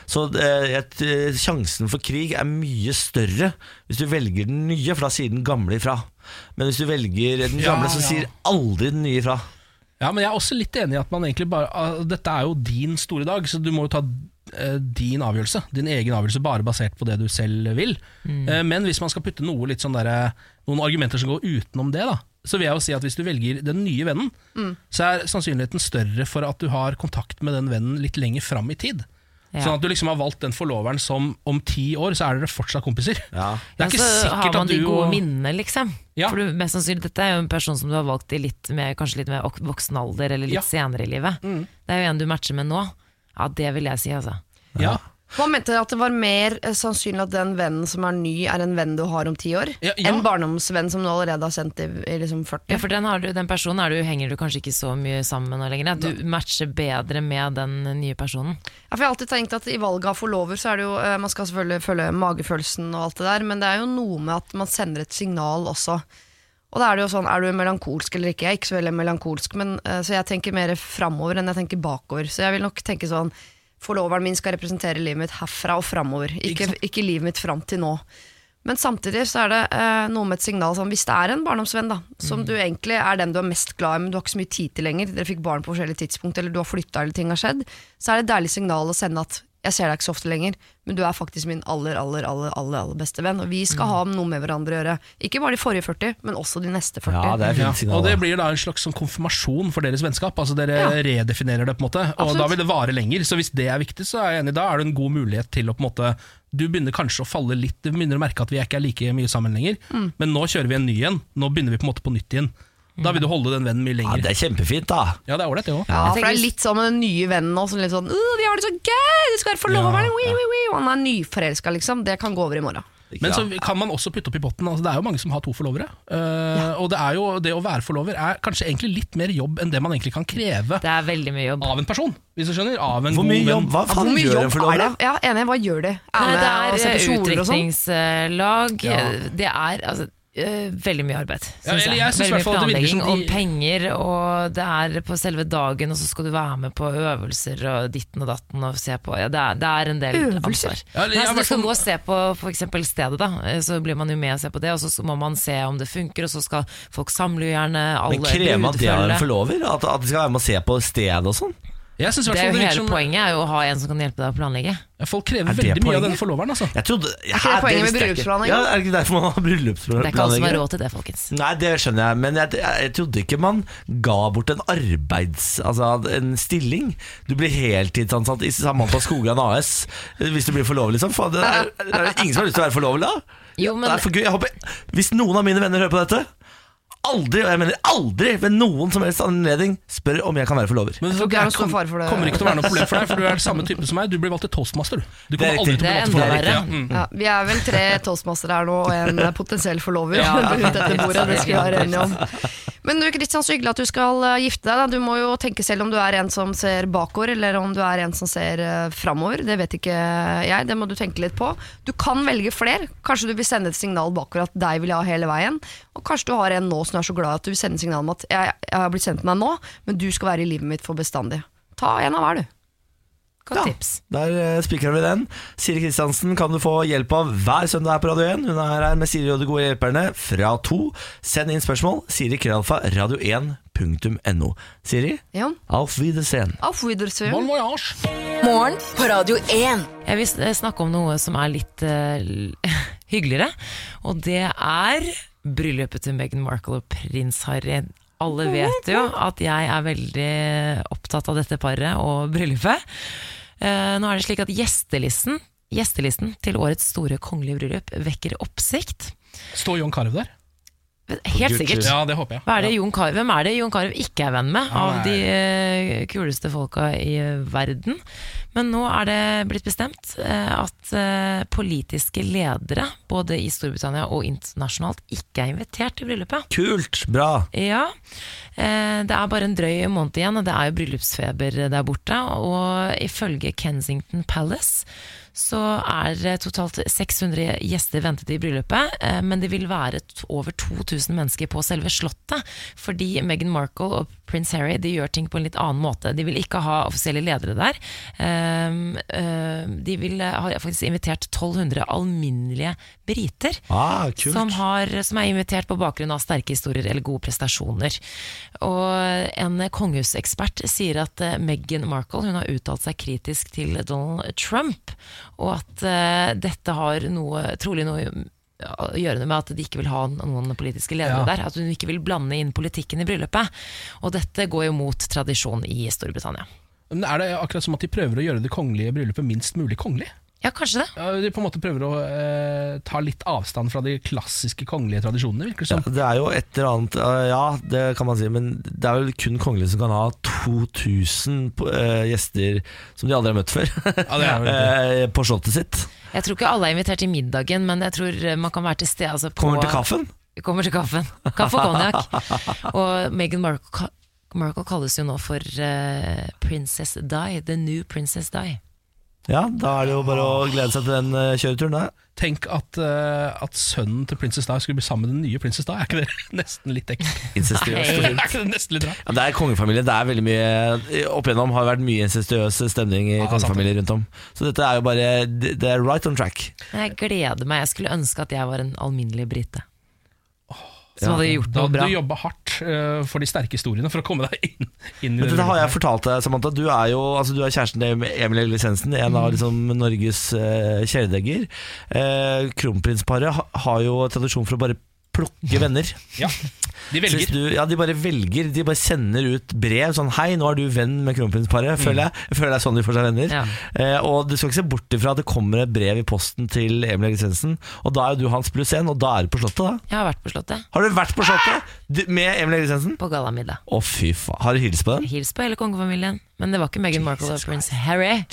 A: Så eh, jeg t- sjansen for krig er mye større hvis du velger den nye, for da sier den gamle ifra. Men hvis du velger den
C: Ja,
A: gamle, så
C: ja.
A: sier aldri den nye ifra.
C: Ja, men jeg er også litt enig i at man egentlig bare ah, Dette er jo din store dag, så du må jo ta eh, din avgjørelse. Din egen avgjørelse, bare basert på det du selv vil.
B: Mm.
C: Eh, men hvis man skal putte noe litt sånn derre noen argumenter som går utenom det, da, så vil jeg jo si at hvis du velger den nye vennen, så er sannsynligheten større for at du har kontakt med den vennen litt lenger fram i tid.
B: Ja.
C: Sånn at du liksom har valgt den forloveren som om ti år så er dere fortsatt kompiser.
A: Ja.
C: Det er ikke
B: Men så har
C: sikkert
B: man
C: at du
B: de gode
C: og-
B: minnene, liksom.
C: Ja.
B: For du, mest sannsynlig, dette er jo en person som du har valgt i litt mer, kanskje litt mer ok- voksen alder, eller litt
C: Ja. Mm.
B: senere i livet. Det er jo en du matcher med nå. Ja, det vil jeg si, altså.
C: Ja.
D: Man mente at det var mer eh, sannsynlig at den vennen som er ny, er en venn du har om ti år,
C: Ja, ja.
D: enn barndomsvenn som du allerede har sendt i, i liksom 40.
B: Ja, for den, har du, den personen er du, henger du kanskje ikke så mye sammen med nå lenger. at Du matcher bedre med den nye personen.
D: Ja, for jeg har alltid tenkt at I valget av forlover så er det jo eh, Man skal selvfølgelig følge magefølelsen, og alt det der men det er jo noe med at man sender et signal også. Og da er det jo sånn, er du melankolsk eller ikke? Jeg er ikke så veldig melankolsk, men, eh, så jeg tenker mer framover enn jeg tenker bakover. Så jeg vil nok tenke sånn Forloveren min skal representere livet mitt herfra og framover, ikke, ikke livet mitt fram til nå. Men samtidig så er det eh, noe med et signal sånn, Hvis det er en barndomsvenn da Som
A: Mm.
D: du egentlig er den du er mest glad i Men du har ikke så mye tid til lenger Dere fikk barn på forskjellige tidspunkt Eller du har flyttet eller ting har skjedd Så er det et deilig signal å sende at Jeg ser deg ikke så ofte lenger Men du er faktisk min aller, aller, aller, aller, aller beste venn Og vi
A: Mm.
D: skal ha noe med hverandre å gjøre Ikke bare de forrige 40, men også de neste 40
A: Ja, det er
C: Ja,
A: fint signal.
C: og det
A: da.
C: blir da en slags sånn konfirmasjon for deres vennskap. Altså Dere
D: Ja.
C: redefinerer det, på en måte og
D: Absolutt.
C: da vil det vare lenger. Så hvis det er viktig, så er jeg enig. Da er det en god mulighet til å på en måte Du begynner kanskje å falle litt Du begynner å merke at vi ikke er like mye sammen lenger,
D: Mm.
C: men nå kjører vi en ny en. Nå begynner vi på en måte på nytt igjen. Da vil du holde den vennen mye
A: Ja,
C: lenger.
A: det er kjempefint, da.
C: Ja, det er ålreit, det òg.
B: Jeg
D: Ja, for det
B: tenker
D: er
B: hvis-
D: litt sånn med den nye vennen også Litt sånn, «Åh, vi har det så gøy Du skal være forloveren
C: Ja,
D: wi, wi, wi», Og han er nyforelsket liksom Det kan gå over i morgen
A: Ikke
C: Men så
A: da.
C: kan man også putte opp i potten. Altså, det er jo mange som har to forlovere. Eh, Og det, er jo, det å være forlover er kanskje egentlig litt mer jobb enn det man egentlig kan kreve
B: Det er veldig mye jobb.
C: av en person. Hvis du skjønner. Av en
A: Hvor
C: god
A: mye
C: venn.
A: jobb, hva
D: Hvor
A: faen
D: mye
A: gjør
D: jobb
A: en
D: er det?
A: forlover?
D: Ja, enig, hva gjør de? Er
B: Nei,
D: med
C: altså,
D: og
B: det
D: ser
B: er eh,
D: på kjoler og sånn?
B: utdrikningslag.
C: Ja.
B: Det er altså eh, veldig mye arbeid, syns
C: Ja, eller
B: jeg.
C: jeg synes
B: Veldig
C: i hvert
B: mye
C: fall at det virker
B: planlegging
C: som de-
B: og penger, og det er på selve dagen, og så skal du være med på øvelser og ditten og datten og se på. Ja, det, er, det er en del
D: Øvelser?
B: ansvar.
C: Ja, eller
B: Nei,
C: jeg
B: så
C: har sånn-
B: du skal
C: hvertfall-
B: gå og se på f.eks. stedet, da. Eh, Så blir man jo med og ser på det, og så må man se om det funker, og så skal folk samle jo gjerne alle
A: Men krever man at de har en
B: brudefølge.
A: forlover? At, at de skal være med og se på stedet og sånn?
C: Jeg synes i
B: Det er
C: hvert fall
B: jo
C: det virker
B: hele
C: som-
B: poenget er jo å ha en som kan hjelpe deg å planlegge.
C: Ja, Folk krever
A: Er det
C: veldig mye av
A: poenget?
C: denne forloveren. altså
A: Jeg trodde, ja,
D: ikke det poenget med
A: visste jeg ikke.
D: bryllupsplanlegging?
A: Ja, er det ikke derfor man har
B: Det er ikke alle som har
A: bryllupsplanlegging?
B: råd til det, folkens.
A: Nei, det skjønner jeg, men jeg, jeg, jeg trodde ikke man ga bort en arbeids... Altså en stilling. Du blir heltidsansatt i Samantha Skogran AS hvis du blir forlovet, liksom. Faen, det er, er det ingen som har lyst til å være forlovet da?
B: Jo, men
A: det er for gøy. Jeg håper, hvis noen av mine venner hører på dette Aldri, og jeg mener aldri ved noen som helst anledning spør om jeg kan være forlover.
C: Men
D: tror ikke det er noen stor fare for det.
C: kommer ikke til å være noe problem for deg, for du er samme type som meg. Du blir valgt til toastmaster. Du Du
A: Det er
C: kommer aldri
A: riktig.
C: til å bli
B: Det er
C: valgt til
B: enda
C: forlover.
B: verre.
C: Ja, mm.
D: Ja, vi er vel tre toastmastere her nå, og en eh, potensiell forlover.
C: Ja,
D: rundt dette bordet, det skal vi være
B: ja.
D: enige om. Men du, Kristian, så hyggelig at du skal eh, gifte deg. Da. Du må jo tenke selv om du er en som ser bakover, eller om du er en som ser eh, framover. Det vet ikke jeg, det må du tenke litt på. Du kan velge fler. Kanskje du vil sende et signal bakover at deg vil jeg ha hele veien. Og kanskje du har en nå som er så glad at du vil sende signal om at jeg, jeg har blitt sendt med deg nå, men du skal være i livet mitt for bestandig. Ta en av hver, du.
B: godt tips.
A: Der eh, spikrer vi den. Siri Kristiansen kan du få hjelp av hver søndag her på Radio 1. Hun er her med Siri og de gode hjelperne fra to. Send inn spørsmål. Siri Kralfa, radio1.no. Siri,
D: Ja.
A: auf Wiedersehen.
D: Auf Wiedersehen.
C: Bon voyage.
E: Morgen på Radio 1.
B: Jeg vil eh, snakke om noe som er litt eh, l- hyggeligere, og det er bryllupet til Meghan Markle og prins Harry. Alle vet jo at jeg er veldig opptatt av dette paret og bryllupet. Eh, Nå er det slik at gjestelisten, gjestelisten til årets store kongelige bryllup vekker oppsikt.
C: Står John Carew der?
B: Helt sikkert.
C: Ja, det håper jeg.
B: Hva er det Jon Carew- Hvem er det Jon Carew ikke er venn med, av
C: Han er-
B: de eh, kuleste folka i verden? Men nå er det blitt bestemt eh, at eh, politiske ledere, både i Storbritannia og internasjonalt, ikke er invitert til bryllupet.
A: Kult, bra.
B: Ja, eh, det er bare en drøy måned igjen, og det er jo bryllupsfeber der borte. Og ifølge Kensington Palace så er det totalt 600 gjester ventet i bryllupet, eh, men det vil være t- over 2000 mennesker på selve slottet. Fordi Meghan Markle og prins Harry de gjør ting på en litt annen måte. De vil ikke ha offisielle ledere der. Um, eh, De vil, eh, har faktisk invitert 1200 alminnelige briter
A: Ah, kult.
B: som, har, som er invitert på bakgrunn av sterke historier eller gode prestasjoner. Og En kongehusekspert sier at eh, Meghan Markle hun har uttalt seg kritisk til Donald Trump, og at eh, dette har noe, trolig noe å gjøre med at de ikke vil ha noen politiske ledere
C: Ja.
B: der. At hun ikke vil blande inn politikken i bryllupet. Og dette går jo mot tradisjon i Storbritannia.
C: Men er det akkurat som at de prøver å gjøre det kongelige bryllupet minst mulig kongelig?
B: Ja, kanskje det.
C: Ja, de på en måte prøver å eh, ta litt avstand fra de klassiske kongelige tradisjonene, virker det
A: Ja,
C: som.
A: det er jo et eller annet eh, Ja, det kan man si, men det er vel kun kongelige som kan ha 2000 på- eh, gjester som de aldri har møtt før,
C: Ja, det er vel det.
A: eh, på slottet sitt.
B: Jeg tror ikke alle er invitert i middagen, men jeg tror eh, man kan være til stede. Altså, på-
A: Kommer til kaffen.
B: Kommer til kaffen. Kaffe og konjakk. Og Meghan Markle, ka- Markle kalles jo nå for eh, Princess Di. The new Princess Di.
A: Ja, da er det jo bare å glede seg til den eh, kjøreturen, da.
C: Tenk at, eh, at sønnen til prinsesse Di skulle bli sammen med den nye prinsesse Di. Er ikke det nesten litt ekkelt?
A: Incestuøst.
C: Er ikke det nesten litt rart?
A: Ja, det er kongefamilie. Det er veldig mye Opp igjennom har det vært mye incestuøs stemning i
C: Ja, det er sant.
A: kongefamilier rundt om. Så dette er jo bare Det det er right on track.
B: Men jeg gleder meg. Jeg skulle ønske at jeg var en alminnelig brite. Som hadde gjort
C: Da
B: noe
C: hadde
B: bra.
C: du jobba hardt eh, for de sterke historiene for å komme deg inn, inn
A: Men
C: i det
A: dette har jeg
C: bryllupet.
A: fortalt deg, Samantha. Du er jo altså, du er kjæresten til Emil Elvis Hensen, en
C: Mm.
A: av liksom, Norges eh, kjæledegger. Eh, Kronprinsparet ha, har jo tradisjon for å bare plukke venner.
C: Ja, de
A: Så hvis
C: velger.
A: Du, ja, De bare velger. De bare sender ut brev sånn 'Hei, nå er du venn med kronprinsparet'. Føler
C: Mm.
A: jeg Jeg føler det er sånn de får seg venner.
B: Ja.
A: Eh, og du skal ikke se bort ifra at det kommer et brev i posten til Emil Eggesensen, og da er jo du hans pluss én, og da er du på Slottet, da.
B: Jeg har vært på Slottet.
A: Har du vært på
C: Ah!
A: Slottet du, med Emil Eggesensen?
B: På gallamiddag.
A: Å, fy faen. Har du hilst på den?
B: Hils på hele kongefamilien. Men det var ikke Meghan Markle og prins Harry.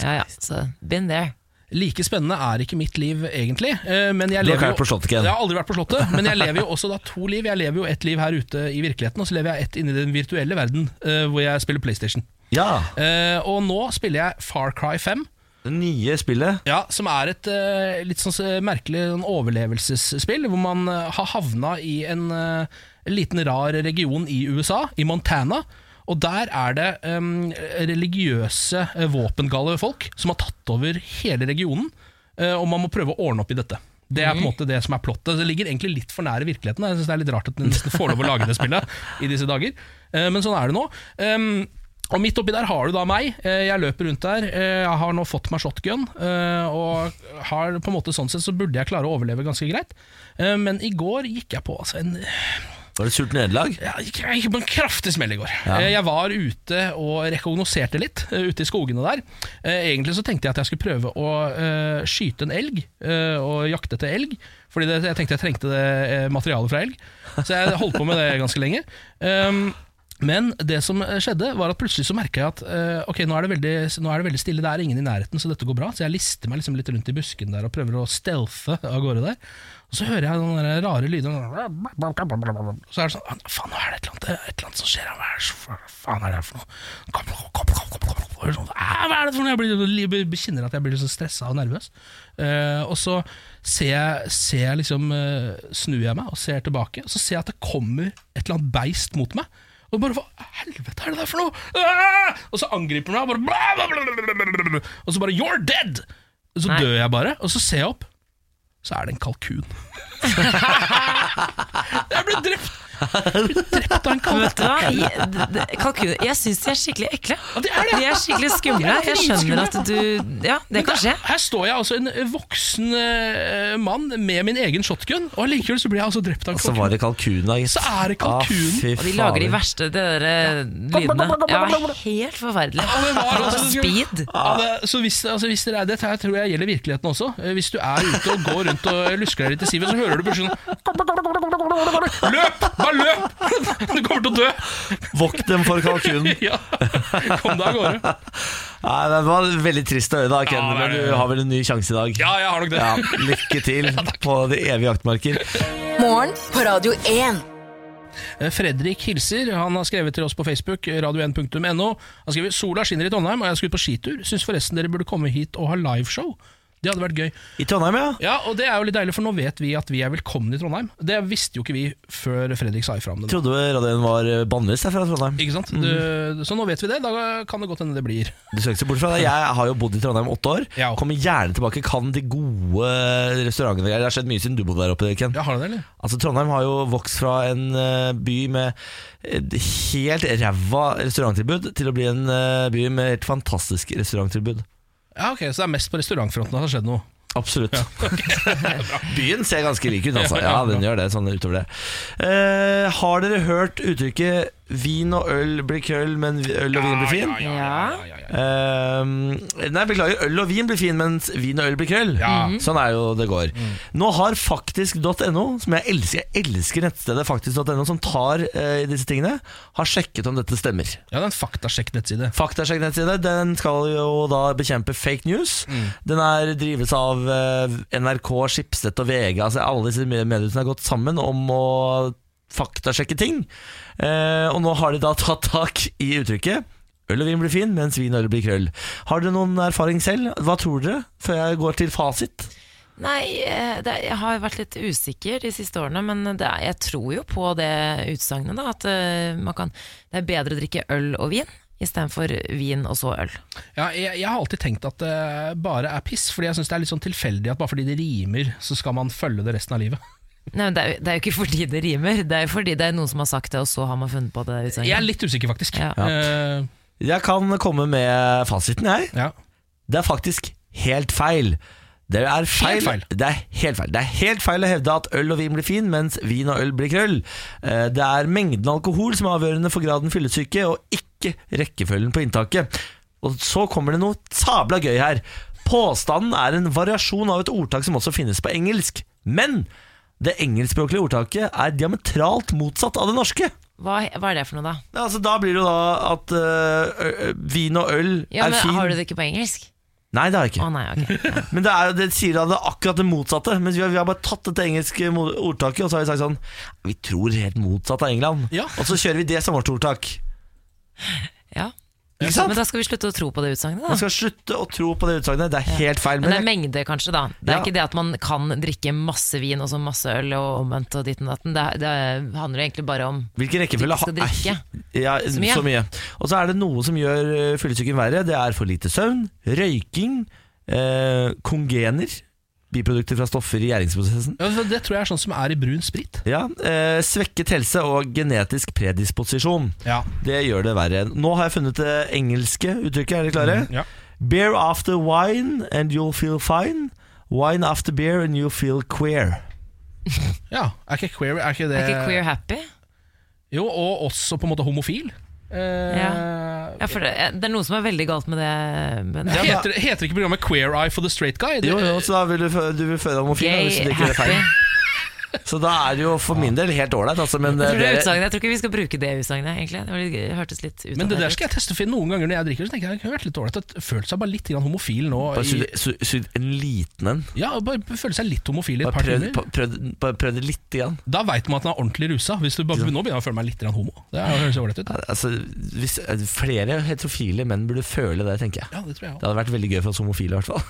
B: Ja, ja, så been there.
C: Like spennende er ikke mitt liv, egentlig. eh, Men jeg
A: Du har
C: lever
A: ikke vært på Slottet, Ken?
C: Jeg har aldri vært på Slottet, men jeg lever jo også da to liv. Jeg lever jo et liv her ute i virkeligheten, og så lever jeg ett inni den virtuelle verden, eh, hvor jeg spiller PlayStation.
A: Ja.
C: Eh, og nå spiller jeg Far Cry 5,
A: Det nye spillet.
C: ja, som er et eh, litt sånn eh, merkelig sånn overlevelsesspill, hvor man eh, har havna i en eh, liten rar region i USA, i Montana. Og der er det em, religiøse, eh, våpengale folk som har tatt over hele regionen. eh, og man må prøve å ordne opp i dette. Det er på en måte det som er plottet. Det ligger egentlig litt for nære virkeligheten. Jeg synes Det er litt rart at den nesten får lov å lage det spillet i disse dager. Eh, men sånn er det nå. Em, Og midt oppi der har du da meg. Eh, Jeg løper rundt der. Eh, Jeg har nå fått meg shotgun. eh, Og har på en måte sånn sett så burde jeg klare å overleve ganske greit. Eh, Men i går gikk jeg på altså en
A: Var det sult nederlag?
C: ja, jeg gikk på en kraftig smell i går. Eh, Jeg var ute og rekognoserte litt eh, ute i skogene der. Eh, Egentlig så tenkte jeg at jeg skulle prøve å eh, skyte en elg eh, og jakte etter elg. Fordi det, jeg tenkte jeg trengte det eh, materialet fra elg. Så jeg holdt på med det ganske lenge. Um, men det som eh, skjedde var at plutselig så merka jeg at eh, Ok, nå er, det veldig, nå er det veldig stille, det er ingen i nærheten, så dette går bra. Så jeg lister meg liksom litt rundt i busken der og prøver å stealthe av gårde der. Og så hører jeg noen der rare lyder. Så er det sånn Faen, nå er det et eller annet, det er et eller annet som skjer her. Hva er det så- hva faen er det her for noe? Kom, kom, kom, kom, kom, kom, kom. Hører sånn, «Æ, Hva er det for noe? Jeg blir, jeg kjenner at jeg blir så stressa og nervøs. Eh, og så ser jeg, ser jeg liksom, eh, snur jeg meg og ser tilbake, og så ser jeg at det kommer et eller annet beist mot meg. Og bare, Hva helvete er det der for noe?! Ah! Og så angriper han meg, og, bare, bla, bla, bla, bla, bla, bla, bla. og så bare You're dead! Og så
B: Nei.
C: dør jeg bare, og så ser jeg opp, så er det en kalkun. jeg ble drept! Jeg ble drept av en kalkun.
B: Vet du hva? I- d- d- Kalkuner Jeg syns de er skikkelig ekle.
C: det er det.
B: De er skikkelig skumle. Jeg skjønner at du Ja, det
C: Men
B: kan skje.
C: der- Her står jeg altså en voksen eh, mann med min egen shotgun, og allikevel så blir jeg altså drept av en
A: Så var
C: kalkun.
A: det kalkun, da. gitt.
C: Så er det kalkun.
A: Ah, fy
B: Og de lager de
A: faen.
B: verste de der eh, lydene. Ja, helt forferdelig.
C: Ja, det var altså-
B: Speed.
C: Ja, det, så hvis, altså, hvis dere er, Dette her tror jeg gjelder virkeligheten også. Eh, Hvis du er ute og går rundt og lusker deg litt i sivet, så hører du plutselig sånn Løp! Bare løp! Du kommer til å dø!
A: Vokt dem for kalkunen.
C: Ja. Kom deg av gårde.
A: Nei, det var veldig trist å høre, da, Ken.
C: Ja, det er
A: Men
C: det.
A: du har vel en ny sjanse i dag.
C: Ja, jeg har nok det.
A: Ja, lykke til på de evige jaktmarker.
E: Morgen på Radio 1.
C: Eh, Fredrik hilser. Han har skrevet til oss på Facebook, eh, radio1.no. Han skriver Sola skinner i Trondheim, og jeg skulle på skitur. Syns forresten dere burde komme hit og ha liveshow. Det hadde vært gøy.
A: I Trondheim, ja.
C: Ja, og det er jo litt deilig, for nå vet vi at vi er velkommen i Trondheim. Det visste jo ikke vi før Fredrik sa ifra om det. nå.
A: Trodde radioen var eh, bannlyst her fra Trondheim.
C: Ikke sant? Du, så nå vet vi det. Da kan det godt hende det blir.
A: Du skal ikke se bort fra det. Jeg har jo bodd i Trondheim åtte år.
C: Ja.
A: Kommer gjerne tilbake. Kan de gode eh, restaurantene. Det har skjedd mye siden du bodde der oppe, Ken.
C: Ja, har du det, eller?
A: Altså Trondheim har jo vokst fra en eh, by med et helt ræva restauranttilbud til å bli en eh, by med helt fantastisk restauranttilbud.
C: Ja, ok, Så det er mest på restaurantfronten det har skjedd noe.
A: Absolutt. Byen ser ganske lik ut, altså. Ja, den gjør det, sånn utover det. Eh, har dere hørt uttrykket 'vin og øl blir køll, men øl og vin blir fin'?
C: Ja, ja, ja, ja, ja.
A: Eh, nei, beklager. Øl og vin blir fin, mens vin og øl blir krøll.
C: Ja. Mm.
A: Sånn er jo det går. Nå har faktisk.no, som jeg elsker, jeg elsker nettstedet faktisk.no, som tar eh, disse tingene, har sjekket om dette stemmer.
C: ja det er en faktasjekk-nettside.
A: Faktasjekk-nettside Den skal jo da bekjempe fake news. Den er drives av eh, NRK, Skipsted og VG. Altså Alle disse me- mediehusene har gått sammen om å faktasjekke ting. Eh, og nå har de da tatt tak i uttrykket. Øl og vin blir fin, mens vin og øl blir krøll. Har dere noen erfaring selv? Hva tror dere, før jeg går til fasit?
B: Nei, eh, det, jeg har vært litt usikker de siste årene, men det er, jeg tror jo på det utsagnet, da. At eh, man kan, det er bedre å drikke øl og vin istedenfor vin og så øl.
C: Ja, jeg, jeg har alltid tenkt at det bare er piss, fordi jeg syns det er litt sånn tilfeldig at bare fordi det rimer, så skal man følge det resten av livet.
B: Nei, men det, er, jo- det er jo ikke fordi det rimer, det er jo fordi det er noen som har sagt det, og så har man funnet på det
C: Jeg er
B: utsagnet.
C: litt usikker, faktisk.
B: Ja.
C: Eh,
A: Jeg kan komme med fasiten, jeg.
C: ja.
A: Det er faktisk helt feil. Det er feil.
C: Helt feil.
A: Det er helt feil. Det er helt feil å hevde at øl og vin blir fin, mens vin og øl blir krøll. Eh, Det er mengden alkohol som er avgjørende for graden fyllesyke, og ikke rekkefølgen på inntaket. Og så kommer det noe sabla gøy her. Påstanden er en variasjon av et ordtak som også finnes på engelsk. Men det engelskspråklige ordtaket er diametralt motsatt av det norske.
B: Hva, hva er det for noe, da?
A: Ja, Altså, da blir det jo da at eh, ø- ø- vin og øl
B: Ja,
A: er
B: men
A: fin.
B: Har du det ikke på engelsk?
A: Nei, det har jeg ikke.
B: Å nei, ok.
A: Men det, er, jo- det sier da det er akkurat det motsatte. Mens vi har, vi har bare tatt dette engelske mo- ordtaket og så har vi sagt sånn Vi tror helt motsatt av England.
C: Ja.
A: Og så kjører vi det som vårt ordtak.
B: Ja.
A: Ikke sant?
B: Men da skal vi slutte å tro på det utsagnet,
A: Man
B: da.
A: skal slutte å tro på det utsagnet. Det er helt feil.
B: Men det
A: Men
B: er
A: jeg,
B: mengde, kanskje, da. Det er
A: Ja.
B: ikke det at man kan drikke masse vin og så masse øl og omvendt og ditten og datten. Det, det handler egentlig bare om
A: hvilken rekkefølge
B: Ikke skal
A: ha-
B: drikke.
A: er- Ja, så
B: mye.
A: mye. Og så er det noe som gjør eh, fyllesyken verre. Det er for lite søvn, røyking, eh, kongener biprodukter fra stoffer i gjæringsprosessen.
C: Ja, for det tror jeg er sånn som er i brun sprit.
A: Ja, eh, Svekket helse og genetisk predisposisjon.
C: Ja.
A: Det gjør det verre. Nå har jeg funnet det engelske uttrykket. Er dere klare?
C: ja.
A: Beer after wine and you'll feel fine. Wine after beer and you feel queer.
C: ja. Er ikke queer, er ikke det
B: Er ikke queer happy?
C: Jo, og også på en måte homofil. Eh,
B: Ja, for det, eh, det er noe som er veldig galt med det. Men
C: Ja, heter, heter ikke programmet Queer Eye for the Straight Guy? Det,
A: Jo, jo, så da vil du, fø- du vil føde homofil da, hvis du
B: gay
A: drikker det
B: happy.
A: feil. Så da er det jo for min del helt ålreit, altså. Men
B: Jeg tror, det er
A: dere-
B: utsagnet. jeg tror ikke vi skal bruke det utsagnet, egentlig. Det var litt- Det hørtes litt ut
C: Men det der skal jeg teste for noen ganger når jeg drikker. Så tenker jeg, jeg kunne vært litt dårlig at jeg følte seg bare litt grann homofil nå.
A: bare
C: I,
A: sugd su- sugd en liten en.
C: ja, bare føle seg litt homofil i
A: Bare
C: et par
A: prøv,
C: timer.
A: pa- prøv, bare prøv det lite grann.
C: Da veit man at den er ordentlig rusa. Hvis du bare, nå begynner jeg å føle meg litt grann homo. Det er- høres jo ålreit ut.
A: Altså, hvis, flere heterofile menn burde føle det, tenker jeg.
C: Ja, det tror jeg også.
A: Det hadde vært veldig gøy for oss homofile, i hvert fall.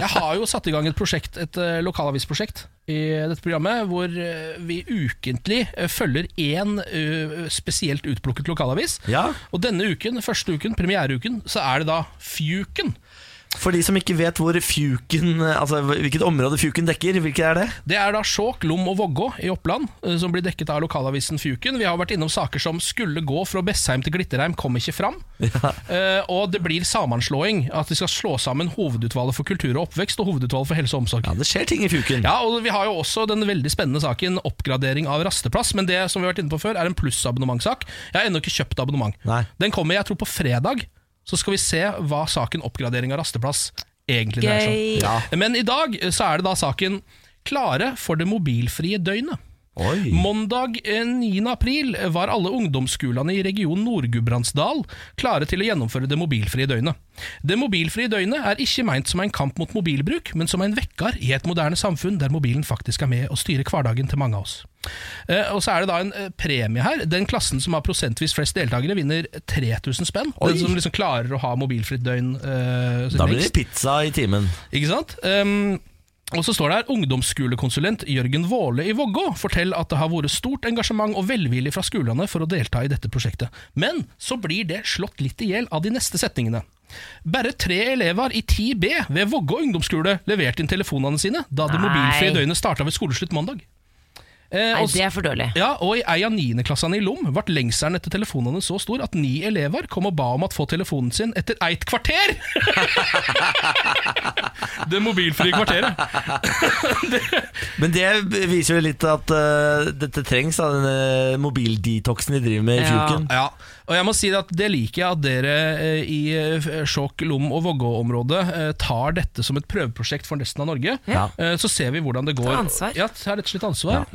C: Jeg har jo satt i gang et prosjekt, et eh, lokalavisprosjekt i dette programmet, hvor eh, vi ukentlig eh, følger én eh, spesielt utplukket lokalavis.
A: Ja.
C: Og denne uken, første uken, premiereuken, så er det da Fjuken.
A: For de som ikke vet hvor Fjuken Altså hvilket område Fjuken dekker, hvilket er det?
C: Det er da Skjåk, Lom og Vågå i Oppland eh, som blir dekket av lokalavisen Fjuken. Vi har vært innom saker som skulle gå fra Bessheim til Glitterheim, kom ikke fram. Eh, og det blir sammenslåing. At de skal slå sammen Hovedutvalget for kultur og oppvekst og Hovedutvalget for helse og omsorg.
A: Ja, det skjer ting i Fjuken.
C: Ja, og Vi har jo også den veldig spennende saken oppgradering av rasteplass. Men det som vi har vært inne på før er en plussabonnementsak. Jeg har ennå ikke kjøpt abonnement.
A: Nei.
C: Den kommer jeg tror på fredag. Så skal vi se hva saken oppgradering av rasteplass egentlig dreier seg om.
B: Gøy.
C: Men i dag eh, så er det da saken Klare for det mobilfrie døgnet.
A: Oi.
C: Mandag eh, 9. april var alle ungdomsskolene i region Nord-Gudbrandsdal klare til å gjennomføre det mobilfrie døgnet. Det mobilfrie døgnet er ikke meint som en kamp mot mobilbruk, men som en vekker i et moderne samfunn der mobilen faktisk er med og styrer hverdagen til mange av oss. Eh, Og så er det da en eh, premie her. Den klassen som har prosentvis flest deltakere, vinner 3000 spenn.
A: Oi.
C: Den som liksom klarer å ha mobilfritt døgn eh,
A: Da blir
C: lengst.
A: det pizza i timen.
C: Ikke sant? Ehm, og så står det her ungdomsskolekonsulent Jørgen Våle i Vågå forteller at det har vært stort engasjement og velvilje fra skolene for å delta i dette prosjektet. Men så blir det slått litt i hjel av de neste setningene. Bare tre elever i 10B ved Vågå ungdomsskole leverte inn telefonene sine da det
B: Nei.
C: mobilfrie døgnet starta ved skoleslutt mandag. Eh,
B: Nei,
C: og så-
B: det er for dårlig.
C: ja, og i ei av niendeklassene i Lom ble lengselen etter telefonene så stor at ni elever kom og ba om at få telefonen sin etter eit kvarter! det mobilfrie kvarteret.
A: Men det viser jo litt at eh, dette trengs, da, denne mobildetoxen de driver med i
B: Ja.
A: Fjuken.
C: Ja, og jeg må si at det liker jeg at dere eh, i eh, Skjåk, Lom og Vågå-området eh, tar dette som et prøveprosjekt for resten av Norge.
A: Ja.
C: Eh, Så ser vi hvordan det går.
B: Ta ansvar.
C: Ja, ta rett og slett ansvar.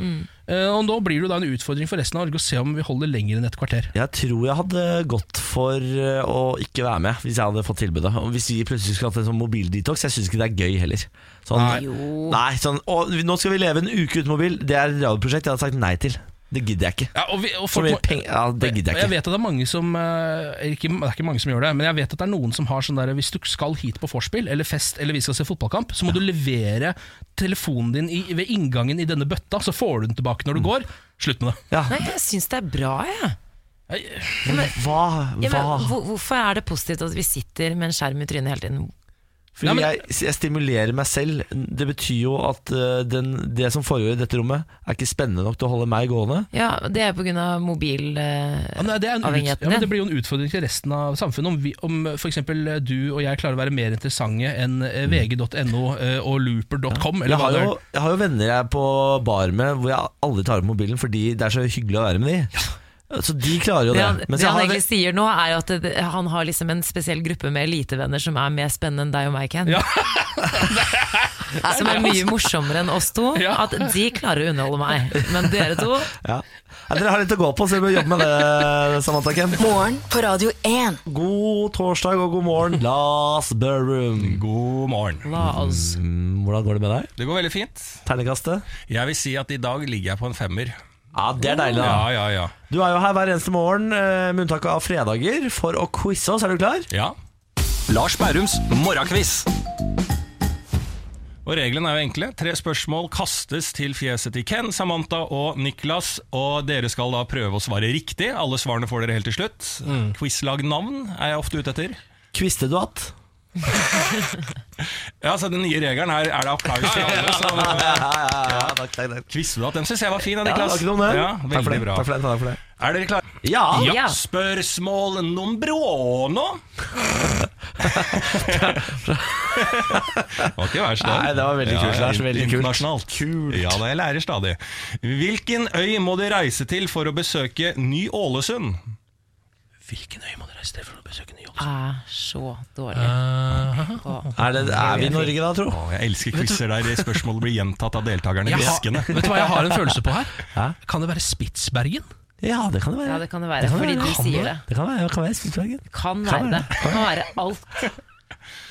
C: Eh, Og nå blir det jo da en utfordring for resten av Norge å se om vi holder lenger enn et kvarter.
A: Jeg tror jeg hadde gått for eh, å ikke være med hvis jeg hadde fått tilbudet. Og hvis vi plutselig skulle hatt en sånn mobildetox, jeg syns ikke det er gøy heller. Sånn,
C: Nei.
B: Jo.
A: nei, sånn å, vi- Nå skal vi leve en uke uten mobil. Det er et radioprosjekt jeg hadde sagt nei til. Det gidder jeg ikke.
C: Ja, og vi, og
A: Så
C: folk
A: mye
C: må-
A: penger Ja, det gidder
C: Og jeg
A: jeg ikke.
C: vet at det er mange som eh, ikke, Det er ikke mange som gjør det, men jeg vet at det er noen som har sånn der Hvis du skal hit på vorspiel eller fest eller vi skal se fotballkamp, så må du levere telefonen din i, ved inngangen i denne bøtta, så får du den tilbake
A: Mm.
C: når du går. Slutt med det.
A: Ja,
B: Nei, jeg syns det er bra, jeg.
A: men hva?
B: Ja, men,
A: hva?
B: hvor- hvorfor er det positivt at vi sitter med en skjerm i trynet hele tiden?
A: Fordi
C: Nei, men-
A: jeg, jeg stimulerer meg selv. Det betyr jo at eh, den, det som foregår i dette rommet, er ikke spennende nok til å holde meg gående.
B: Ja, Det er pga. mobil... eh,
C: Ja, nei, det, er en ut, ja,
B: Avhengigheten
C: men
B: din.
C: det blir jo en utfordring til resten av samfunnet om, vi- om f.eks. du og jeg klarer å være mer interessante enn eh, vg.no eh, og looper.com. eller
A: Mm. Jeg
C: hva
A: har,
C: det er.
A: jo, jeg har jo venner jeg er på bar med hvor jeg aldri tar opp mobilen fordi det er så hyggelig å være med de. Så de klarer jo
B: Det
A: det.
B: han,
A: Mens
B: det
A: jeg
B: han
A: har
B: egentlig sier nå, er jo at det, han har liksom en spesiell gruppe med elitevenner som er mer spennende enn deg og meg, Ken. som er mye morsommere enn oss to.
C: Ja.
B: At de klarer å underholde meg, men dere to
A: ja. Ja, Dere har litt å gå på, så dere bør jobbe med det. Samantha Kem.
E: Morgen på Radio 1.
A: God torsdag og god morgen, Lars Børum.
F: God morgen.
B: La oss
A: Mm, Hvordan går det med deg?
F: Det går veldig fint.
A: Ternekastet?
F: Jeg vil si at i dag ligger jeg på en femmer.
A: Ja, det er deilig. da
F: Ja, ja, ja.
A: Du er jo her hver eneste morgen, eh, med unntak av fredager, for å quize oss. Er du klar?
F: ja. Lars Bærums morgenkviss. Og Reglene er jo enkle. Tre spørsmål kastes til fjeset til Ken, Samantha og Niklas. Og Dere skal da prøve å svare riktig. Mm. Alle svarene får dere helt til slutt. Quizlagnavn er jeg ofte ute etter.
A: Kviste du hatt?
F: Ja, så Den nye regelen her er det applaus til alle. Så,
A: Ja, ja, ja, takk, takk, takk.
F: Quizdebatt, den syns jeg var fin.
A: Ja,
F: da,
A: det
F: Niklas.
A: var ikke noe om det.
F: Ja,
A: takk for
F: veldig
A: det.
F: bra.
A: Takk for det, takk for det.
F: Er dere klare?
A: Ja,
B: Ja.
F: Ja. Spørsmål nummer uno. Det var ikke verst, da.
A: Nei, det var veldig kult, Lars, veldig kult.
F: internasjonalt. Ja da, jeg lærer stadig. Hvilken øy må de reise til for å besøke Ny-Ålesund?
C: Hvilken øy må dere reise til for å besøke Ny-Ålesund?
B: er så dårlig
C: Eh,
B: på
A: er, det, er vi i Norge da, tro?
F: Å, jeg elsker quizer der spørsmålet blir gjentatt av deltakerne hviskende.
C: Vet du hva jeg har en følelse på her? Kan det være Spitsbergen?
A: Ja, det kan det være.
B: Ja, det kan det være, fordi du
A: Kan
B: sier
A: være.
B: det.
A: Det kan være, det kan være Spitsbergen.
B: Kan være det. Kan være alt.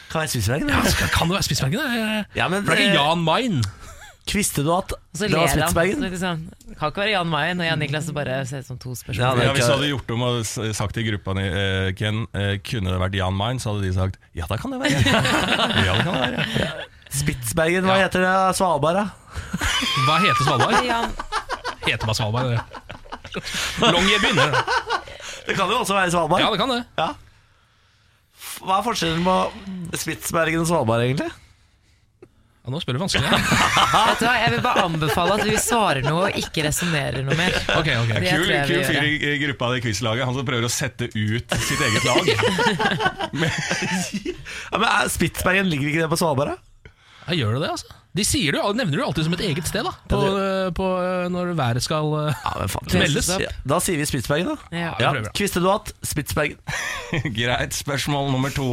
A: Kan være Spitsbergen, ja.
C: Skal- Kan det være Spitsbergen? da?
A: Ja, men
C: For det er ikke
A: eh,
C: Jan Mayen.
A: Visste du at
B: Og så
A: det var
B: ler han.
A: Spitsbergen?
B: Så liksom, kan ikke være Jan Mayen og Jan Niklas og bare se ut som to
A: Ja,
B: spørsmål.
A: det-
F: Ja, hvis du hadde gjort om og s- sagt til gruppa di eh, Ken, eh, kunne det vært Jan Mayen, så hadde de sagt ja, da kan det være. Ja, det kan det være.
A: Spitsbergen, hva heter det? Svalbard, da?
C: Hva heter Svalbard?
B: Jan,
C: Heter bare Svalbard. det. Longyearbyen. det.
A: Det kan jo også være Svalbard.
C: Ja, det kan det.
A: Ja. Hva er forskjellen på Spitsbergen og Svalbard, egentlig?
C: Ja, nå spør du vanskelig. her.
B: vet du hva, jeg vil bare anbefale at du svarer noe og ikke resonnerer noe mer.
C: Ok, ok
B: Det
F: Kul,
B: tror jeg vi
F: kul
B: gjør,
F: fyr
B: ja.
F: i i gruppa i quizlaget, han som prøver å sette ut sitt eget lag.
A: Ja, men er- Spitsbergen ligger ikke det på Svalbard, da?
C: Ja, gjør det det, altså? De sier det jo, nevner det jo alltid som et eget sted, da. På, eh, på, når været skal eh,
A: Ja, men faen,
C: Meldes.
A: Ja, da sier vi Spitsbergen, da.
B: Ja.
A: Ja,
C: prøver jeg.
A: Kviste du hatt? Spitsbergen.
F: Greit, spørsmål nummer to.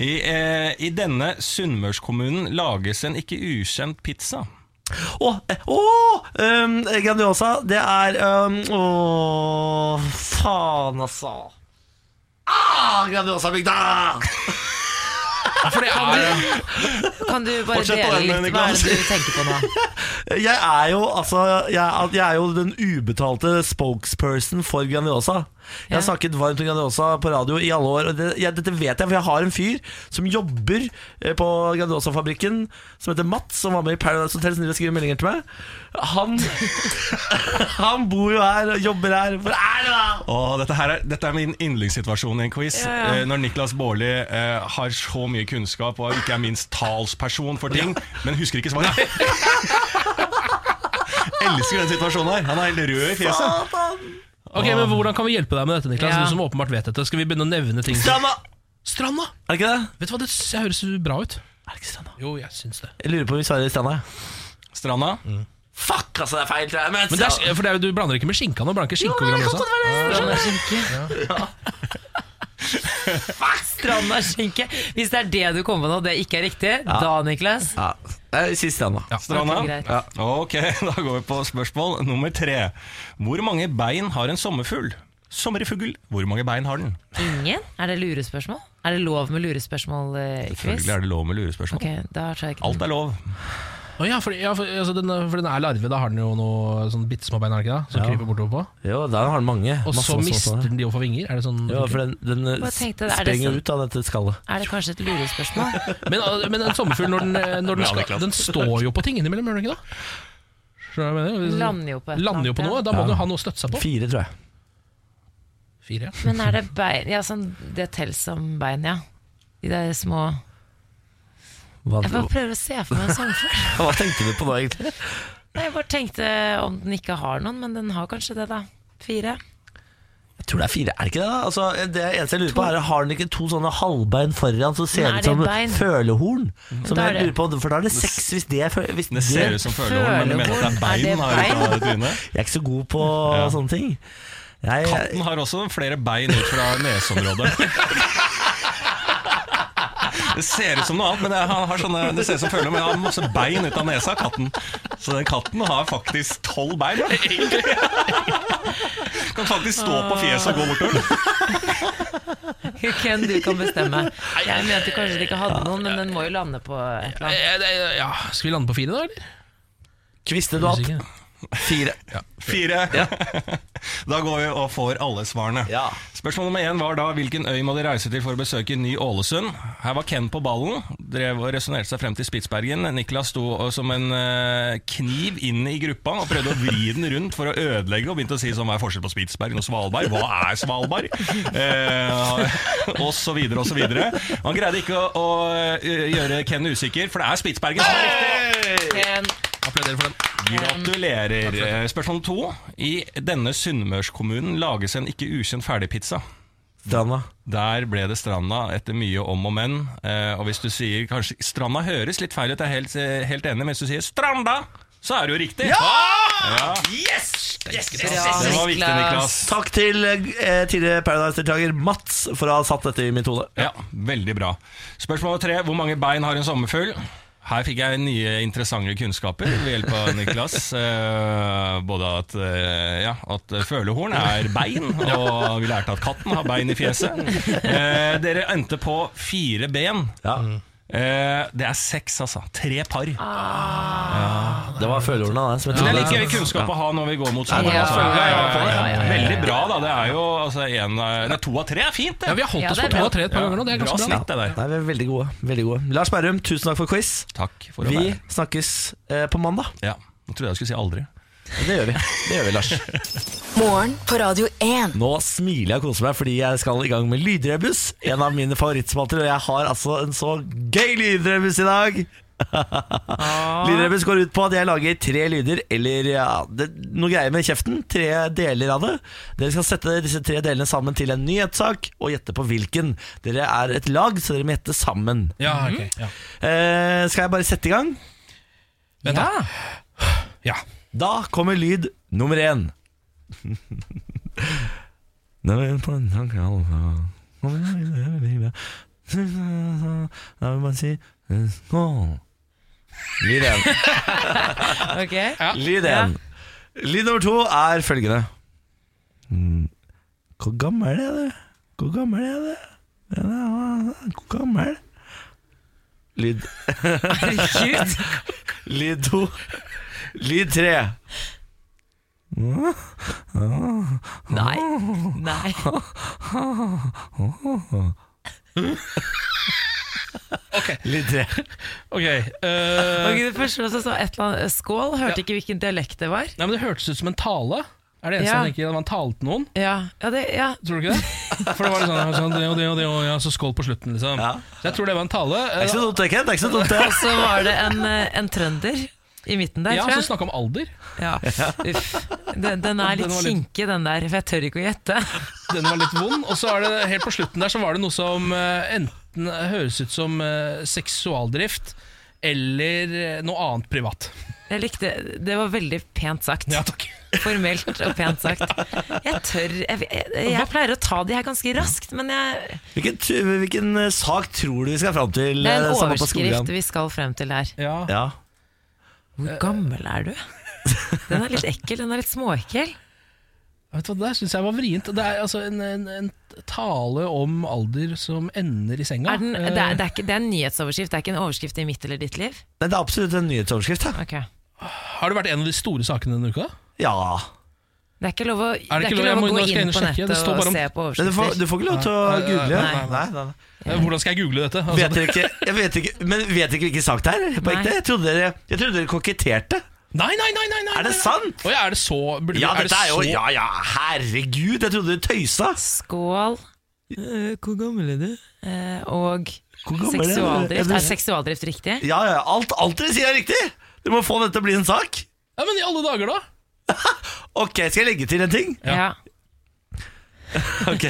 F: I, eh, i denne sunnmørskommunen lages en ikke ukjent pizza.
A: Å! eh, å, um, Grandiosa, det er um, Å, faen, altså. Ah, Grandiosa-bygda!
C: For det er
B: Kan du bare
F: Fortsett på
B: dele
F: den,
B: litt hva er
F: Niklas.
B: det du tenker på nå?
A: Jeg er jo altså jeg, jeg er jo den ubetalte spokesperson for Grandiosa. Jeg har
B: Ja.
A: snakket varmt om Grandiosa på radio i alle år. Og det, jeg, dette vet jeg, for jeg har en fyr som jobber eh, på Grandiosa-fabrikken, som heter Mats, som var med i Paradise Hotel, som driver og skriver meldinger til meg. Han, han bor jo her og jobber her. Hvor er det, da?
F: Åh, dette, her er, dette er min yndlingssituasjon i en quiz. Eh, når Niklas Baarli eh, har så mye kunnskap og ikke er minst talsperson for ting, men husker ikke svaret. Elsker den situasjonen her. Han er helt rød i fjeset.
A: Satan!
C: Ok, men Hvordan kan vi hjelpe deg med dette, Niklas?
B: Ja.
C: Du som åpenbart vet dette Skal vi begynne å nevne ting? som-
A: Stranda!
C: Stranda!
A: Er det ikke det?
C: Vet du hva, det s- jeg høres bra ut.
A: Er det ikke Stranda?
C: Jo, jeg syns det.
A: Jeg lurer på om vi svarer Stranda.
F: Stranda.
A: Fuck, altså, det er feil, tror jeg. Men,
C: Men det er, for det er, jo- Du blander ikke med skinka nå? Blander ikke skinke og Grandiosa?
B: Stranda skinke. Fuck, Stranda skinke. Hvis det er det du kommer på nå, og det ikke er riktig, da, Niklas
A: ja, jeg sier Stranda.
C: Ja.
F: Stranda.
B: Ok, greit.
F: Ja. Ok, da går vi på spørsmål nummer tre. Hvor mange bein har en sommerfugl? Sommerfugl, hvor mange bein har den?
B: Ingen? Er det lurespørsmål? Er det lov med lurespørsmål eh, i quiz?
F: Selvfølgelig er det lov med lurespørsmål.
B: Ok, da tror jeg ikke
F: Alt er lov.
C: Å ja, for, ja for, altså, den, for den er larve, da har den jo noe sånn bitte små bein er det ikke da, som
A: Ja.
C: kryper bortover på.
A: Jo, der har han mange.
C: Og
A: Masse,
C: så
A: masse, masse.
C: mister den de og får vinger? Er det sånn
A: Ja, for den, den eh,
B: Bare tenkte det, er det
A: sprenger
B: sånn-
A: ut av dette skallet.
B: Er det kanskje et lurespørsmål?
C: Men, uh, men en sommerfugl, når den, eh, når den, skal, den står jo på ting innimellom, gjør den ikke det? Skjønner du hva jeg mener? Hvis-
B: Lander jo på et eller
C: Lander jo på
B: annet,
C: noe,
B: ja.
C: da må den jo ha noe å støtte seg på.
A: Fire, tror jeg.
C: Fire, ja.
B: Men er det bein Ja, sånn, det telles som bein, ja. De der små
A: Hva,
B: Jeg bare prøver å se for meg en sommerfugl.
A: hva tenkte du på nå, egentlig?
B: Nei, Jeg bare tenkte om den ikke har noen, men den har kanskje det, da. Fire.
A: Jeg tror det er fire, er det ikke det? da? Altså, det eneste jeg lurer på er, Har den ikke to sånne halvbein foran som
B: Men
A: ser
B: er
A: ut som
B: det bein?
A: følehorn? Som
B: Da er
A: jeg lurer
B: det-
A: på, For da er det seks, hvis det er fø- hvis
F: Det ser ut som følehorn, men du mener at det
B: Følehorn, er
F: er
B: det
F: bein? da, ut av trynet?
A: Jeg er ikke så god på
F: Ja.
A: sånne ting. Jeg,
F: Katten har også flere bein ut fra nesområdet. Det ser ut som noe annet, men det, han har sånne, det ser ut som følehorn, men han har masse bein ut av nesa, katten. Så den katten har faktisk tolv bein. da. Kan faktisk stå på fjeset og gå bortover.
B: Ken, du kan bestemme. Jeg mente kanskje de ikke hadde noen, men den må jo lande på et eller annet.
C: Eh, det- Ja, Skal vi lande på fire, da? eller?
A: Kviste du hatt?
C: Usikker.
A: Fire.
F: Fire. Da går vi og får alle svarene.
A: Ja.
F: Spørsmål nummer én var da hvilken øy må de reise til for å besøke Ny-Ålesund. Her var Ken på ballen, drev og resonnerte seg frem til Spitsbergen. Niklas sto og- som en eh, kniv inn i gruppa og prøvde å vri den rundt for å ødelegge, og begynte å si sånn, hva er forskjellen på Spitsbergen og Svalbard? Hva er Svalbard? Eh, og så videre og så videre. Han greide ikke å, å eh, gjøre Ken usikker, for det er Spitsbergen som er riktig.
B: En,
C: Applauderer for den.
F: Gratulerer. Eh, Spørsmål to. I denne sunnmørskommunen lages en ikke ukjent ferdigpizza.
A: Drama.
F: Der ble det Stranda etter mye om og men. Eh, og hvis du sier kanskje Stranda høres litt feil ut, jeg er helt, eh, helt enig, men hvis du sier Stranda, så er det jo riktig. Ja! Det var viktig, Niklas.
A: Takk til eh, tidligere Paradise-deltaker Mats for å ha satt dette i mitt hode.
F: Ja, Veldig bra. Spørsmål tre. Hvor mange bein har en sommerfugl? Her fikk jeg nye interessante kunnskaper ved hjelp av Niklas. Eh, både at, eh, ja, at følehorn er bein, og vi lærte at katten har bein i fjeset. Eh, dere endte på fire ben.
A: Ja,
F: Eh, det er seks, altså. Tre par.
B: Ah.
A: Det var følehorna, det. Som jeg
F: Det er
A: trodde.
F: litt gøy kunnskap å ha når vi går mot sommeren.
B: Ja.
F: altså.
B: Ja, ja, ja, ja.
F: Veldig bra, da. Det er jo altså, en, av- nei, to av tre er fint, det.
C: Ja, vi har holdt
B: Ja,
C: oss
B: det er
C: på to
B: bra.
C: og tre et par ganger nå. Det er
F: bra
C: ganske bra.
F: snitt, det der.
A: Nei, vi er veldig gode. Veldig gode. Lars Berrum, tusen takk for quiz.
F: Takk for å
A: Vi
F: være
A: snakkes eh, på mandag.
F: Ja, Nå trodde jeg jeg skulle si aldri.
A: Det gjør vi. Det gjør vi, Lars.
E: Morgen på Radio 1.
A: Nå smiler jeg og koser meg fordi jeg skal i gang med Lydrebus. En av mine favorittspalter, og jeg har altså en så gøy lydrebus i dag. lydrebus går ut på at jeg lager tre lyder, eller ja, det, noe greier med kjeften. Tre deler av det. Dere skal sette disse tre delene sammen til en nyhetssak, og gjette på hvilken. Dere er et lag, så dere må gjette sammen.
C: Ja, ok. Ja.
A: Eh, skal jeg bare sette i gang?
C: Vent, da. Ja.
A: Da kommer lyd nummer én. Da er vi på en tanke, altså. Kom igjen, det er veldig bra. Da vil man si skål. Lyd én.
B: Ah, ok.
A: Lyd én. Lyd nummer to er følgende. Mm. Hvor gammel er du? Hvor gammel er du? Ja, ja, ja, Hvor gammel? Lyd
B: Herregud.
A: Lyd to. Lyd tre.
B: Nei.
C: Oh.
B: Nei.
A: Lyd tre.
C: Ok. eh,
B: Ok, det første også sa et eller annet Skål, hørte ikke hvilken dialekt det var.
C: nei, men det hørtes ut som en tale. Er det eneste
B: Ja.
C: han ikke Man talte noen,
B: Ja, ja, det, ja.
C: tror du ikke det? For det var litt sånn, sånn det og det og det og ja, så skål på slutten, liksom.
A: Ja.
C: Så jeg tror det var en tale.
A: Det er ikke sånn? så dumt, det, Kent. Det er ikke så dumt, det. altså.
B: Og så var det en, eh, en trønder i midten der,
C: ja,
B: tror
C: så
B: jeg.
C: snakka om alder.
B: Ja. Uff. Den, den er
C: Den
B: litt
C: var litt-
B: kinkig, den der, for jeg tør ikke å gjette.
C: Den var litt vond. Og så er det helt på slutten der så var det noe som eh, enten høres ut som eh, seksualdrift eller eh, noe annet privat.
B: Jeg likte Det var veldig pent sagt.
C: Ja, takk.
B: Formelt og pent sagt. Jeg tør Jeg, jeg, jeg pleier å ta de her ganske raskt, men jeg,
A: Hvilken, t- hvilken eh, sak tror du vi skal fram til?
B: det er
A: eh,
B: en
A: Samantha Skogran?
B: overskrift vi skal frem til her.
C: Ja.
A: Ja.
B: Hvor gammel er du? Den er litt ekkel. Den er litt småekkel.
C: Vet du hva, Det syns jeg var vrient. Det er altså en, en, en tale om alder som ender i senga.
B: Er den, det, er, det, er ikke, det er en nyhetsoverskrift, det er ikke en overskrift i mitt eller ditt liv.
A: Nei, Det er absolutt en nyhetsoverskrift. Da.
B: Ok.
C: Eh, har det vært en av de store sakene denne uka?
A: Ja.
B: Det er ikke lov å, det er
C: ikke
B: ikke
C: lov- jeg
B: lov
C: må-
B: å gå
C: nå skal jeg
B: inn
C: inn og
B: på
C: sjekke, det
B: nettet
C: står
B: og
C: bare om-
B: se på
A: Men du, får,
B: overskrifter.
A: du får ikke lov til å
C: Nei, nei,
A: google.
C: nei,
A: Nei, nei, nei.
C: Eh, Hvordan skal jeg google dette? Altså,
A: Vet dere ikke, jeg vet ikke, men vet dere ikke hvilken sak det er? På
B: Nei.
A: ekte? Jeg trodde dere, jeg trodde dere koketterte.
C: Nei, nei, nei! nei, nei
A: Er det
C: nei.
A: sant?
C: Å ja, er det så burde,
A: Ja,
C: er det
A: dette er jo
C: så-
A: Ja ja, herregud, jeg trodde dere tøysa.
B: Skål. hvor gammel er du? og
A: Hvor gammel er du?
B: seksualdrift.
A: Jeg
B: Er
A: blir-
B: seksualdrift riktig?
A: Ja ja, alt, alt dere sier er riktig. Dere må få dette til å bli en sak.
C: Ja, Men i alle dager, da!
A: Ok, skal jeg legge til en ting?
C: Ja.
B: Ja.
A: Ok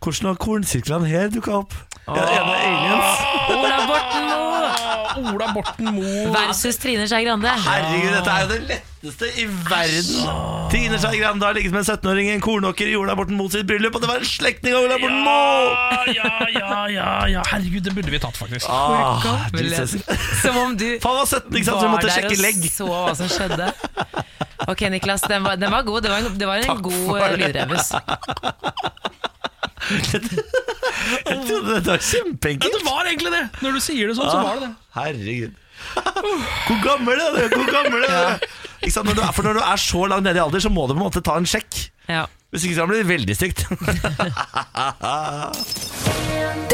A: Hvordan har kornsirklene her dukka opp? Ja, det ene er aliens.
B: Ola Borten Moe
C: Ah, Ola Borten Moe
B: versus Trine Skei Grande.
A: Herregud, dette er jo det letteste i verden. Trine Skei Grande har ligget med en 17-åring i en kornåker i Ola Borten Moe sitt bryllup, og det var en slektning av Ola Borten Moe!
C: Ja, ja, ja, ja, ja. Herregud, det burde vi tatt, faktisk.
A: Ah,
B: Gammel.
A: Jesus.
B: Som om du
A: Faen var 17, ikke sant? Så vi måtte sjekke legg.
B: så hva som skjedde. Ok, Niklas, den var, den var god. Det var en, det var en god eh, lydrebus.
A: Jeg trodde dette var
C: Ja,
A: kjempeenkelt. Ah,
C: det var egentlig det! Når du sier det sånn, så var det det.
A: Herregud. Hvor gammel er du? Hvor gammel er du? Ikke sant? Når du, er- for når du er så langt nede i alder, så må du på en måte ta en sjekk.
B: Ja.
A: Hvis ikke så blir det veldig stygt.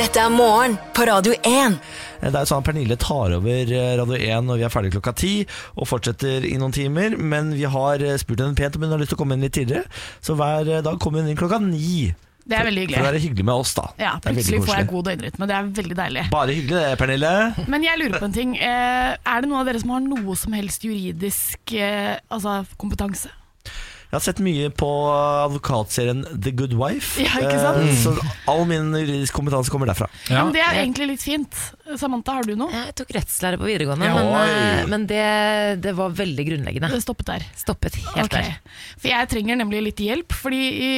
E: Dette er morgen på Radio 1.
A: Det er jo sånn at Pernille tar over eh, Radio 1 når vi er ferdig klokka ti, og fortsetter i noen timer. Men vi har eh, spurt henne pent om hun har lyst til å komme inn litt tidligere, så hver eh, dag kommer hun inn klokka ni.
G: Det er veldig
A: For å
G: hyggelig.
A: være hyggelig med oss, da.
G: Ja,
A: Det er veldig
G: plutselig får jeg
A: koselig.
G: god døgnrytme. Det er veldig deilig.
A: Bare hyggelig det, Pernille.
G: Men jeg lurer på en ting. Eh, Er det noen av dere som har noe som helst juridisk eh, altså, kompetanse?
A: Jeg har sett mye på advokatserien The Good Wife.
G: Ja, ikke sant?
A: Eh, Så all min juridisk kompetanse kommer derfra.
G: Ja.
C: Ja.
G: Men det er egentlig litt fint. Samantha, har du noe?
B: Jeg tok rettslære på videregående,
A: Ja,
B: men,
A: oi.
B: eh, men det, det var veldig grunnleggende.
A: Eh.
G: Det stoppet der.
B: Stoppet helt
G: Ok.
B: der.
G: For jeg trenger nemlig litt hjelp, fordi i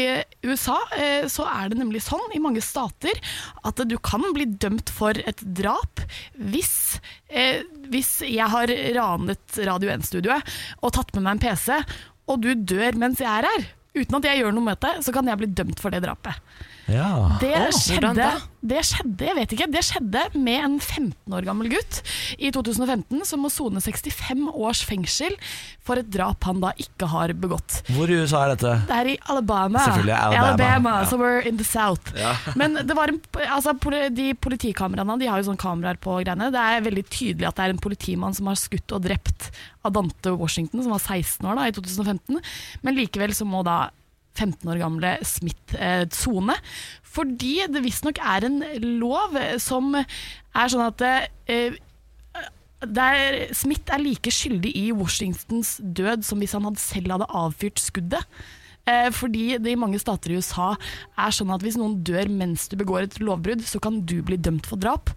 G: USA eh, så er det nemlig sånn i mange stater at du kan bli dømt for et drap hvis, eh, hvis jeg har ranet Radio 1-studioet og tatt med meg en PC, og du dør mens jeg er her. Uten at jeg gjør noe med det, så kan jeg bli dømt for det drapet.
A: Ja.
G: Det
B: Åh, hvordan
G: skjedde,
B: da?
G: det skjedde, jeg vet ikke, det skjedde med en 15 år gammel gutt i 2015 som må sone 65 års fengsel for et drap han da ikke har begått.
A: Hvor i USA er dette?
G: Det er i Alabama.
A: Selvfølgelig Alabama, ja.
G: Somewhere in the south. Men det var en, altså, poli- de politikameraene de har jo sånne kameraer på greiene. Det er veldig tydelig at det er en politimann som har skutt og drept Adante Washington, som var 16 år da, i 2015. Men likevel så må da 15 år gamle Smith eh, sone. Fordi det visstnok er en lov som er sånn at eh, der Smith er like skyldig i Washingtons død som hvis han hadde selv hadde avfyrt skuddet. Eh, fordi det i mange stater i USA er sånn at hvis noen dør mens du begår et lovbrudd, så kan du bli dømt for drap.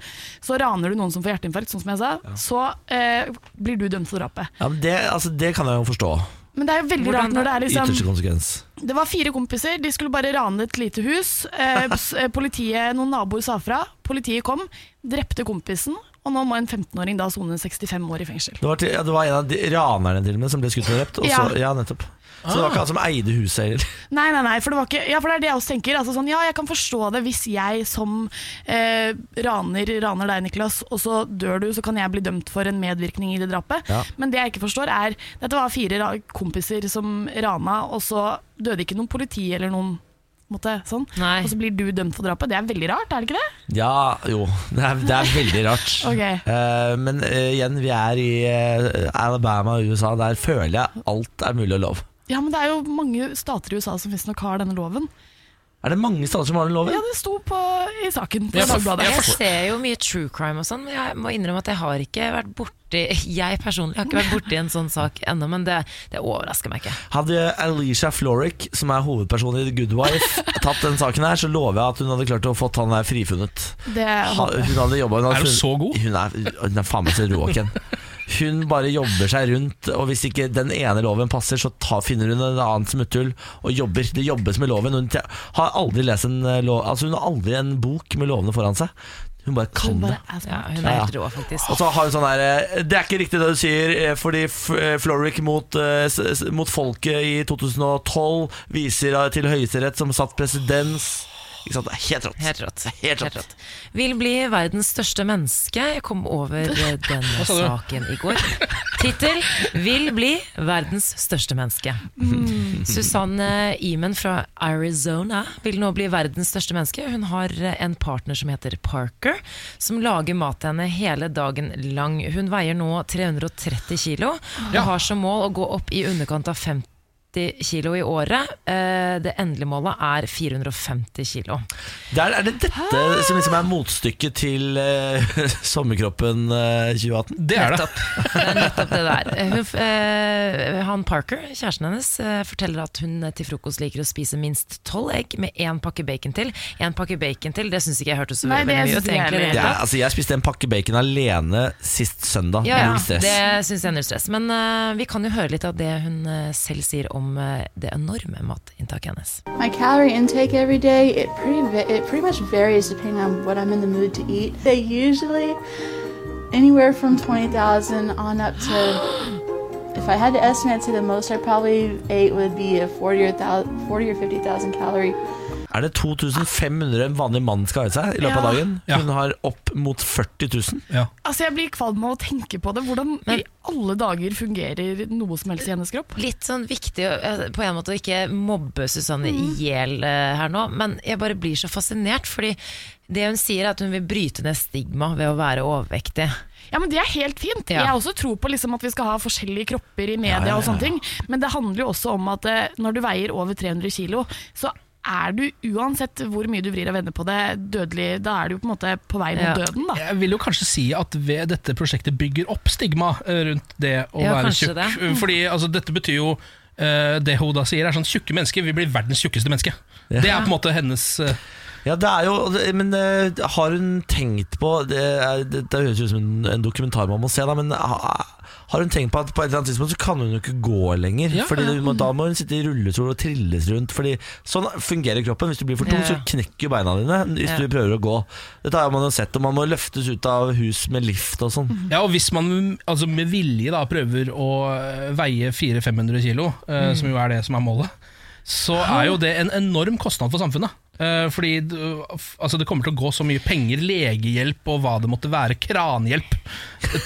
G: Så raner du noen som får hjerteinfarkt, sånn som jeg sa, så eh, blir du dømt for drapet.
A: Ja, men det, altså, det kan jeg jo forstå.
G: Men det er jo veldig
B: Hvordan
G: rart når det er
A: I
G: liksom
A: ytterste konsekvens.
G: det var fire kompiser, de skulle bare rane et lite hus. Eh, s- eh, Politiet, Noen naboer sa fra. Politiet kom, drepte kompisen, og nå må en 15-åring da sone 65 år i fengsel.
A: Det var, til, ja, det var en av de ranerne til og med som ble skutt og drept. Og så, ja. nettopp Så det var ikke han som eide huset heller.
G: Nei, nei, nei, for det var ikke Ja, for det er det jeg også tenker. Altså sånn, ja, jeg kan forstå det hvis jeg som eh, raner raner deg, Niklas, og så dør du, så kan jeg bli dømt for en medvirkning i det drapet.
A: Ja.
G: Men det jeg ikke forstår, er Dette var fire ra kompiser som rana, og så døde ikke noen politi eller noen på en måte, sånn.
B: Nei.
G: Og så blir du dømt for drapet. Det er veldig rart, er det ikke det?
A: Ja, jo. Det er, det er veldig rart.
G: Ok.
A: Eh, men eh, igjen, vi er i eh, Alabama og USA. Der føler jeg alt er mulig og lov.
G: Ja, men det er jo mange stater i USA som visstnok har denne loven.
A: Er det mange stater som har den loven?
G: Ja, det sto på, i saken på
C: Jeg for-
G: Dagbladet.
C: jeg
B: Jeg ser jo mye true crime og sånn, men jeg må innrømme at jeg har ikke vært borti Jeg personlig har ikke vært borti en sånn sak ennå, men det, det overrasker meg ikke.
A: Hadde Alicia Florrick, som er hovedpersonen i The Good Wife, tatt den saken her, så lover jeg at hun hadde klart å fått han der frifunnet.
G: Det,
A: Ha- Hun hadde jobbet, hun hadde
F: Er hun
A: funnet-
F: så god?
A: Hun er, hun er faen meg så rå, Ken. Hun bare jobber seg rundt, og hvis ikke den ene loven passer, så ta, finner hun en annen smutthull og jobber. Det jobbes med loven. Hun te- har aldri lest en eh, lov Altså hun har aldri en bok med lovene foran seg. Hun bare kan
G: hun bare altså.
A: det.
G: er
B: Ja,
G: smart.
B: hun er
A: Ja, ja.
B: helt rå, faktisk.
A: Og så har hun sånn her eh, Det er ikke riktig det du sier, eh, fordi F- eh, Florrick mot, eh, s- s- mot folket i 2012 viser eh, til Høyesterett som satt presedens. Ikke sant? Det er helt rått.
B: Helt rått.
A: Helt rått.
B: Vil bli verdens største menneske. Jeg kom over eh, denne
C: sa du?
B: saken i går. Tittel 'Vil bli verdens største menneske'.
C: Mm.
B: Susanne Eaman fra Arizona vil nå bli verdens største menneske. Hun har eh, en partner som heter Parker, som lager mat til henne hele dagen lang. Hun veier nå 330 kilo og
C: Ja.
B: har som mål å gå opp i underkant av 50 kilo i året. Eh, Det endelige målet er 450 kilo.
A: Der er det dette som liksom er motstykket til eh, sommerkroppen eh, 2018.
C: Det er det.
B: Det er nettopp det der. Eh, Hun, f- eh, han Parker, kjæresten hennes, eh, forteller at hun eh, til frokost liker å spise minst tolv egg med én pakke bacon til. Én pakke bacon til, det syns ikke jeg hørtes så
G: Nei,
B: veldig
G: det
B: mye
G: synes
B: ut.
G: ikke jeg
B: egentlig.
G: heller.
A: Det er, altså, jeg spiste en pakke bacon alene sist søndag.
B: Ja, ja,
A: Null stress.
B: det syns jeg er null stress. Men eh, vi kan jo høre litt av det hun eh, selv sier om eh, det enorme matinntaket hennes.
H: My calorie intake every day it pretty va- it pretty much varies depending on what I'm in the mood to eat. They usually anywhere from twenty thousand on up to. If I had to estimate, I'd say the most I probably ate would be a forty or thou- forty or fifty thousand calorie
A: Er det 2500 en vanlig mann skal ha i seg i løpet av
G: Ja.
A: dagen?
C: Ja.
A: Hun har opp mot 40 000.
C: Ja.
G: Altså Jeg blir kvalm av å tenke på det. Hvordan i alle dager fungerer noe som helst i hennes kropp?
B: Litt sånn viktig eh, på en måte å ikke mobbe Susanne i hjel eh, her nå, men jeg bare blir så fascinert, fordi det hun sier er at hun vil bryte ned stigma ved å være overvektig.
G: Ja, men Det er helt fint.
B: Ja.
G: Jeg også tror på liksom at vi skal ha forskjellige kropper i media,
A: ja,
G: og sånne ting men det handler jo også om at eh, når du veier over 300 kilo, så er du uansett hvor mye du vrir og vender på det, dødelig. Da er du jo på en måte på vei mot
B: Ja.
G: døden, da.
C: Jeg vil jo kanskje si at ved dette prosjektet bygger opp stigma eh, rundt det å
B: Ja,
C: være
B: kanskje
C: tjukk.
B: det.
C: Fordi altså, dette betyr jo eh, det hun da sier, er sånn tjukke mennesker vil bli verdens tjukkeste menneske. Det er på en måte hennes eh,
A: Ja, det er jo Men eh, har hun tenkt på Det, er, det, det høres ut som en, en dokumentar man må se, da, men ha, har hun tenkt på at på et eller annet tidspunkt så kan hun jo ikke gå lenger?
C: Ja,
A: fordi
C: ja.
A: du må, Da må hun sitte i rullestol og trilles rundt. Fordi Sånn fungerer kroppen. Hvis du blir for tung,
B: Ja.
A: så knekker jo beina dine hvis
B: Ja.
A: du prøver å gå. Dette har man jo sett, og man må løftes ut av hus med lift og sånn.
C: Ja, og hvis man altså, med vilje da prøver å eh, veie 400-500 kilo,
G: Mm.
C: eh, som jo er det som er målet, så er jo det en enorm kostnad for samfunnet. Eh, fordi du- f- altså, det kommer til å gå så mye penger, legehjelp og hva det måtte være, kranhjelp,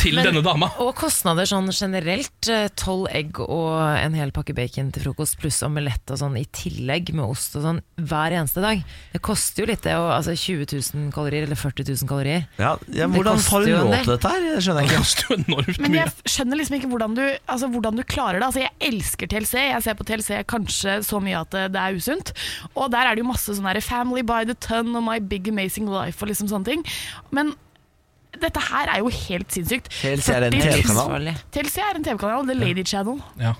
C: til denne dama.
B: Og kostnader sånn generelt. eh, Tolv egg og en hel pakke bacon til frokost, pluss omelett og sånn i tillegg med ost og sånn hver eneste dag. Det koster jo litt, det. Og, altså 20 000 kalorier eller 40 000 kalorier.
A: Ja, ja,
B: Det
A: hvordan
B: koster
A: har hun
B: jo en
A: råd
B: del.
A: til dette her? Det skjønner jeg
C: Det
A: ikke.
C: koster jo enormt
G: Men
C: mye.
G: jeg skjønner liksom ikke hvordan du, altså, hvordan du klarer det. Altså, jeg elsker TLC. Jeg ser på TLC kanskje så mye at eh, det, det er usunt. Og der er det jo masse sånn derre 'Family by the ton' og 'My big amazing life' og liksom sånne ting. Men dette her er jo helt sinnssykt.
A: TLC er en
G: 40 000
A: TV-kanal.
B: Livsfarlig.
G: TLC er en TV-kanal. The Lady Channel.
C: Ja.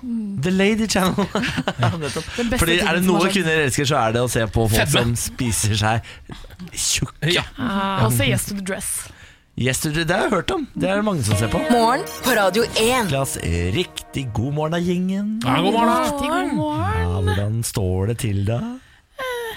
A: The Lady Channel. Nettopp.
G: Den beste
A: Fordi
G: tingen
A: Er det
G: som har
A: noe
G: skjedd.
A: kvinner elsker, så er det å se på folk
C: Fedme.
A: som spiser seg tjukke.
C: Ja.
G: Og så Yes to the Dress.
A: Yesterday, det har jeg hørt om. Det er det mange som ser på.
E: Morgen på Radio 1.
A: Niklas, riktig god morgen da, gjengen.
C: Ja, god morgen, da.
G: Riktig god morgen.
A: Ja, hvordan står det til da?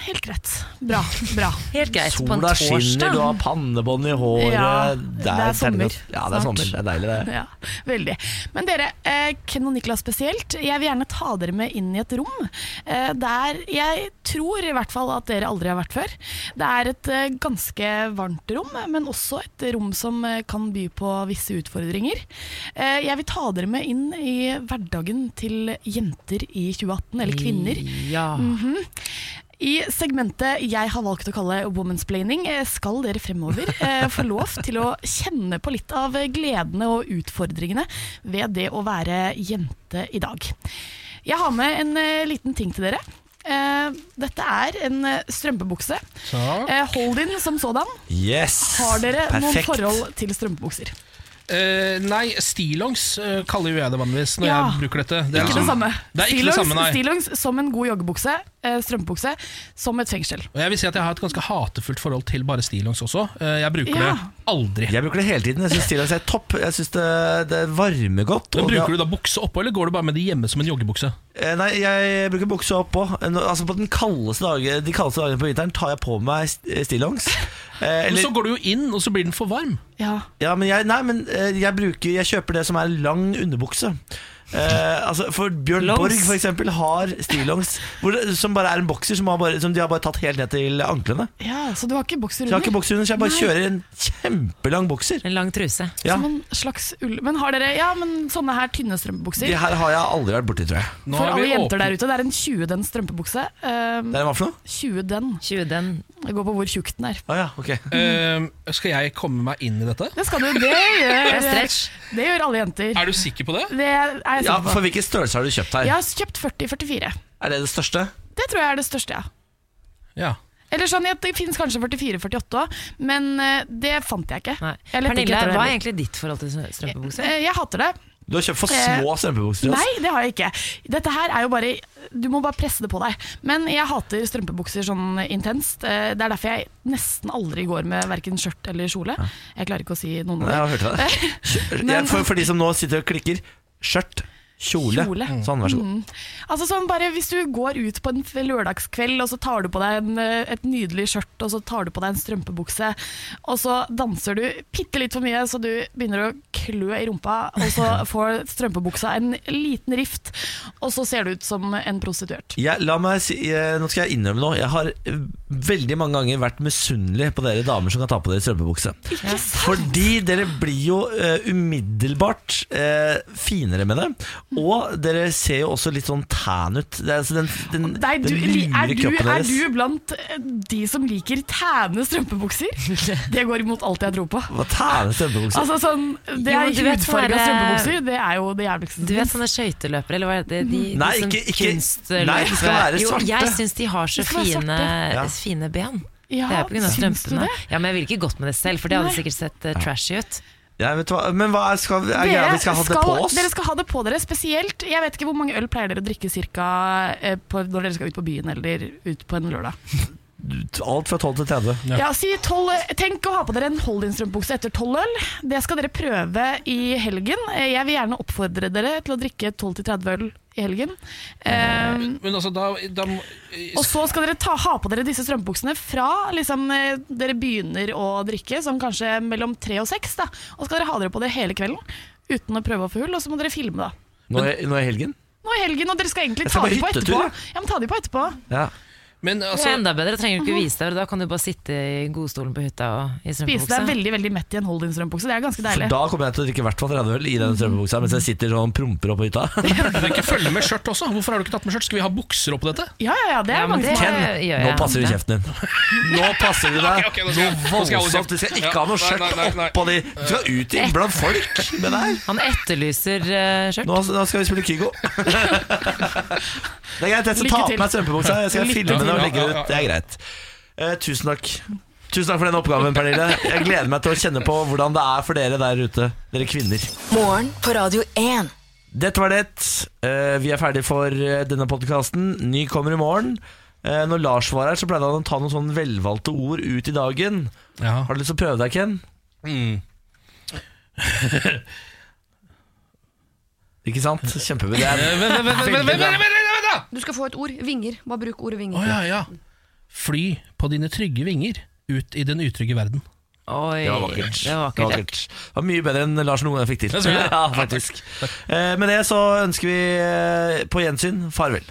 G: Helt greit. Bra. bra
B: Helt greit på en
A: Sola skinner,
B: torsdag.
A: du har pannebånd i håret.
G: Ja,
A: det
G: det er sommer
A: terningkast- Ja, det er
G: snart.
A: sommer. Det er deilig, det.
G: Ja, veldig. Men dere, eh, Ken og Niklas spesielt, jeg vil gjerne ta dere med inn i et rom eh, der jeg tror i hvert fall at dere aldri har vært før. Det er et eh, ganske varmt rom, men også et rom som eh, kan by på visse utfordringer. Eh, jeg vil ta dere med inn i hverdagen til jenter i 2018, eller kvinner. Mm.
B: Ja.
G: Mhm. I segmentet jeg har valgt å kalle womansplaining, eh, skal dere fremover eh, få lov til å kjenne på litt av gledene og utfordringene ved det å være jente i dag. Jeg har med en eh, liten ting til dere. Eh, dette er en eh, strømpebukse. Eh, hold in som sådan.
A: Yes!
G: Har dere
A: Perfekt.
G: noen forhold til strømpebukser?
C: Eh, nei, stillongs eh, kaller jo jeg det vanligvis når
G: Ja.
C: jeg bruker dette. Det
G: Ikke
C: liksom-
G: det samme.
C: Det er ikke det
G: Stillongs-
C: samme, nei.
G: Stillongs som en god joggebukse, eh, strømpebukse som et fengsel.
C: Og jeg vil si at jeg har et ganske hatefullt forhold til bare stillongs også. Eh, jeg bruker
G: Ja.
C: det aldri.
A: Jeg bruker det hele tiden. Jeg syns stillongs er topp. Jeg syns det, det varmer godt.
C: Men
A: og det-
C: Bruker du da bukse oppå, eller går du bare med de hjemme som en joggebukse?
A: Eh, Nei, jeg bruker buksa oppå. Nå- Altså på den kaldeste dagen, de kaldeste dagene på vinteren tar jeg på meg st- stillongs. Eh,
C: Men
A: eller,
C: så går du jo inn, og så blir den for varm.
G: Ja.
A: ja, men jeg, nei, men eh, jeg, bruker, jeg kjøper det som er lang underbukse. Eh, altså for Bjørn
B: Longs.
A: Borg for eksempel, har stillongs hvor det- som bare er en bokser som, har bare, som de har bare tatt helt ned til anklene.
G: ja, Så du har ikke bokser
A: Så jeg
G: under?
A: har ikke bokser under, så jeg bare kjører en kjempelang bokser.
B: En lang truse.
A: Ja,
G: Som en slags ull Men har dere ja, men sånne her tynne strømpebukser?
A: De her har jeg aldri vært borti, tror jeg.
C: Nå
G: For
C: er vi
G: alle jenter
C: åpne-
G: der ute, det er en 20 den strømpebukse. Ehm,
A: Det er en hva for noe?
G: 20 den.
B: 20 den.
G: Det går på hvor tjukk den er.
A: Å ja, ok.
C: Eh, skal jeg komme meg inn i dette?
G: Det skal du, det gjør,
B: Det er stretch.
G: det gjør alle jenter.
C: Er du sikker på det?
G: Det er jeg
A: Ja,
G: sikker
A: for
G: på.
A: hvilken størrelse har du kjøpt
G: Jeg
A: her?
G: har kjøpt 40-44.
A: Er det det største?
G: Det tror jeg er det største, ja.
C: Ja.
G: Eller sånn, jeg- Det finnes kanskje 44-48 òg, men eh, det fant jeg ikke.
B: Nei.
G: Jeg lette ikke
B: Pernille,
G: etter det
B: hva er
G: heller.
B: egentlig ditt forhold til strømpebukse?
G: Eh, Jeg hater det.
A: Du har kjøpt for
G: Eh,
A: små strømpebukser. altså. ass.
G: Nei, det har jeg ikke. Dette her er jo bare Du må bare presse det på deg. Men jeg hater strømpebukser sånn intenst. Eh, Det er derfor jeg nesten aldri går med verken skjørt eller kjole. Jeg klarer ikke å si noen
A: Nei, jeg
G: ord.
A: har hørt det. Kjø- Ja,
G: Men-
A: for, for de som nå sitter og klikker skjørt, Kjole.
G: Kjole.
A: Sånn, vær så god.
G: Mm. Altså sånn bare Hvis du går ut på en f- lørdagskveld, og så tar du på deg en, eh, et nydelig skjørt, og så tar du på deg en strømpebukse, og så danser du bitte litt for mye, så du begynner å klø i rumpa, og så får strømpebuksa en liten rift, og så ser du ut som en prostituert.
A: Jeg, la meg si, eh, nå skal jeg innrømme noe. Jeg har eh, veldig mange ganger vært misunnelig på dere damer som kan ta på dere strømpebukse. Fordi dere blir jo eh, umiddelbart eh, finere med det. Og dere ser jo også litt sånn tan ut. Det er, altså den, den,
G: Nei, du,
A: den
G: li- er,
A: lure
G: du,
A: kroppen
G: er
A: deres.
G: du blant eh, de som liker tæne strømpebukser? Det går imot alt jeg tror på.
A: Hva tæne strømpebukse?
G: Altså sånn, Det
B: Jo,
G: er
B: men du vet sånn
G: hudfarga
B: der-
G: strømpebukser, det er jo det jævligste. som
B: Du vet
G: finnes.
B: sånne skøyteløpere, eller hva er det? De,
A: Nei,
B: de som
A: ikke- ikke-
B: kunstløper-
A: nei, de skal være
B: Jo,
A: svarte.
B: jeg syns de har så
G: De skal være
B: fine,
A: Ja.
B: fine ben.
G: Ja,
B: det er på grunn av
G: syns du
B: strømpene.
G: det?
B: Ja, men Jeg ville ikke gått med det selv, for det hadde
G: Nei.
B: sikkert sett eh, trashy ut.
A: Ja, vet du hva? Men hva er, skal, er greia? Vi skal ha det
G: skal-
A: på oss?
G: Dere skal ha det på dere, spesielt Jeg vet ikke hvor mange øl pleier dere å drikke cirka eh, på, når dere skal ut på byen eller ut på en lørdag.
A: Alt fra 12 til 30.
G: Ja, si 12, eh, Tenk å ha på dere en Holdin-strømpebukse etter tolv øl. Det skal dere prøve i helgen. Eh, Jeg vil gjerne oppfordre dere til å drikke 12-30 øl i helgen. Eh,
C: Men altså, da, da må-
G: og så skal dere ta, ha på dere disse strømpebuksene fra liksom, eh, dere begynner å drikke, som kanskje mellom tre og seks. Da. Og så skal dere ha dere på dere hele kvelden uten å prøve å få hull, og så må dere filme, da.
A: Nå er, nå er helgen?
G: nå i helgen, og dere skal egentlig
A: Jeg skal
G: ta
A: på
G: de på
A: hyttetur,
G: etterpå.
A: jeg.
G: Ja, men ta de på etterpå.
A: Ja.
C: men
B: Det er
C: altså,
B: enda bedre, trenger du ikke vise deg, og da kan du bare sitte i godstolen på hytta og i
G: Spise deg
B: strømpebukse.
G: veldig veldig mett i en Holdin-strømpebukse. Det er ganske
A: For
G: deilig.
A: da kommer jeg til å drikke i hvert fall 30 øl i den strømpebuksa mens jeg sitter sånn promper opp på hytta.
C: burde du ikke følge med skjørt også? Hvorfor har du ikke tatt med skjørt? Skal vi ha bukser oppå dette?
G: Ja, ja, ja, det
B: Ja,
G: er
B: men
G: mange
B: det
G: som har-
A: Ken,
B: gjør jeg.
A: nå passer du kjeften din. Nå passer du deg
C: Ok, ok, nå skal
A: noe
C: jeg- nå skal jeg holde kjeft.
A: voldsomt. Du skal ikke ha noe
C: Ja,
A: skjørt
C: nei, nei, nei. Eh.
A: oppå de. Du skal ut i blant folk med det her.
B: Han etterlyser eh, skjørt.
A: Nå, nå skal vi spille Kygo. Det er greit, jeg skal
G: Lykke
A: ta på
G: til.
A: meg strømpebuksa. Jeg skal
G: Lykke
A: filme det og
C: til.
A: legge det ut. Det er greit. Eh, tusen takk. Tusen takk for den oppgaven, Pernille. Jeg gleder meg til å kjenne på hvordan det er for dere der ute, dere kvinner.
E: Morgen på Radio 1.
A: Dette var det. Eh, vi er ferdig for eh, denne podkasten. Ny kommer i morgen. Eh, når Lars var her, så pleide han å ta noen sånne velvalgte ord ut i dagen.
C: Ja.
A: Har du lyst til å prøve deg, Ken?
C: Mm.
A: Ikke sant? Kjempebra. Det er
C: Vent, vent, vent, vent,
A: veldig
C: vent,
A: bra.
C: vent, vent, vent, da!
D: Du skal få et ord. Vinger. Bare bruk ordet vinger.
C: Å ja, ja. Fly på dine trygge vinger ut i den utrygge verden.
B: Oi,
A: Det var vakkert.
B: Det var vakkert.
A: Det var mye bedre enn Lars noen gang fikk til.
C: synes jeg.
A: Ja, faktisk. Eh, Med det så ønsker vi eh, på gjensyn farvel.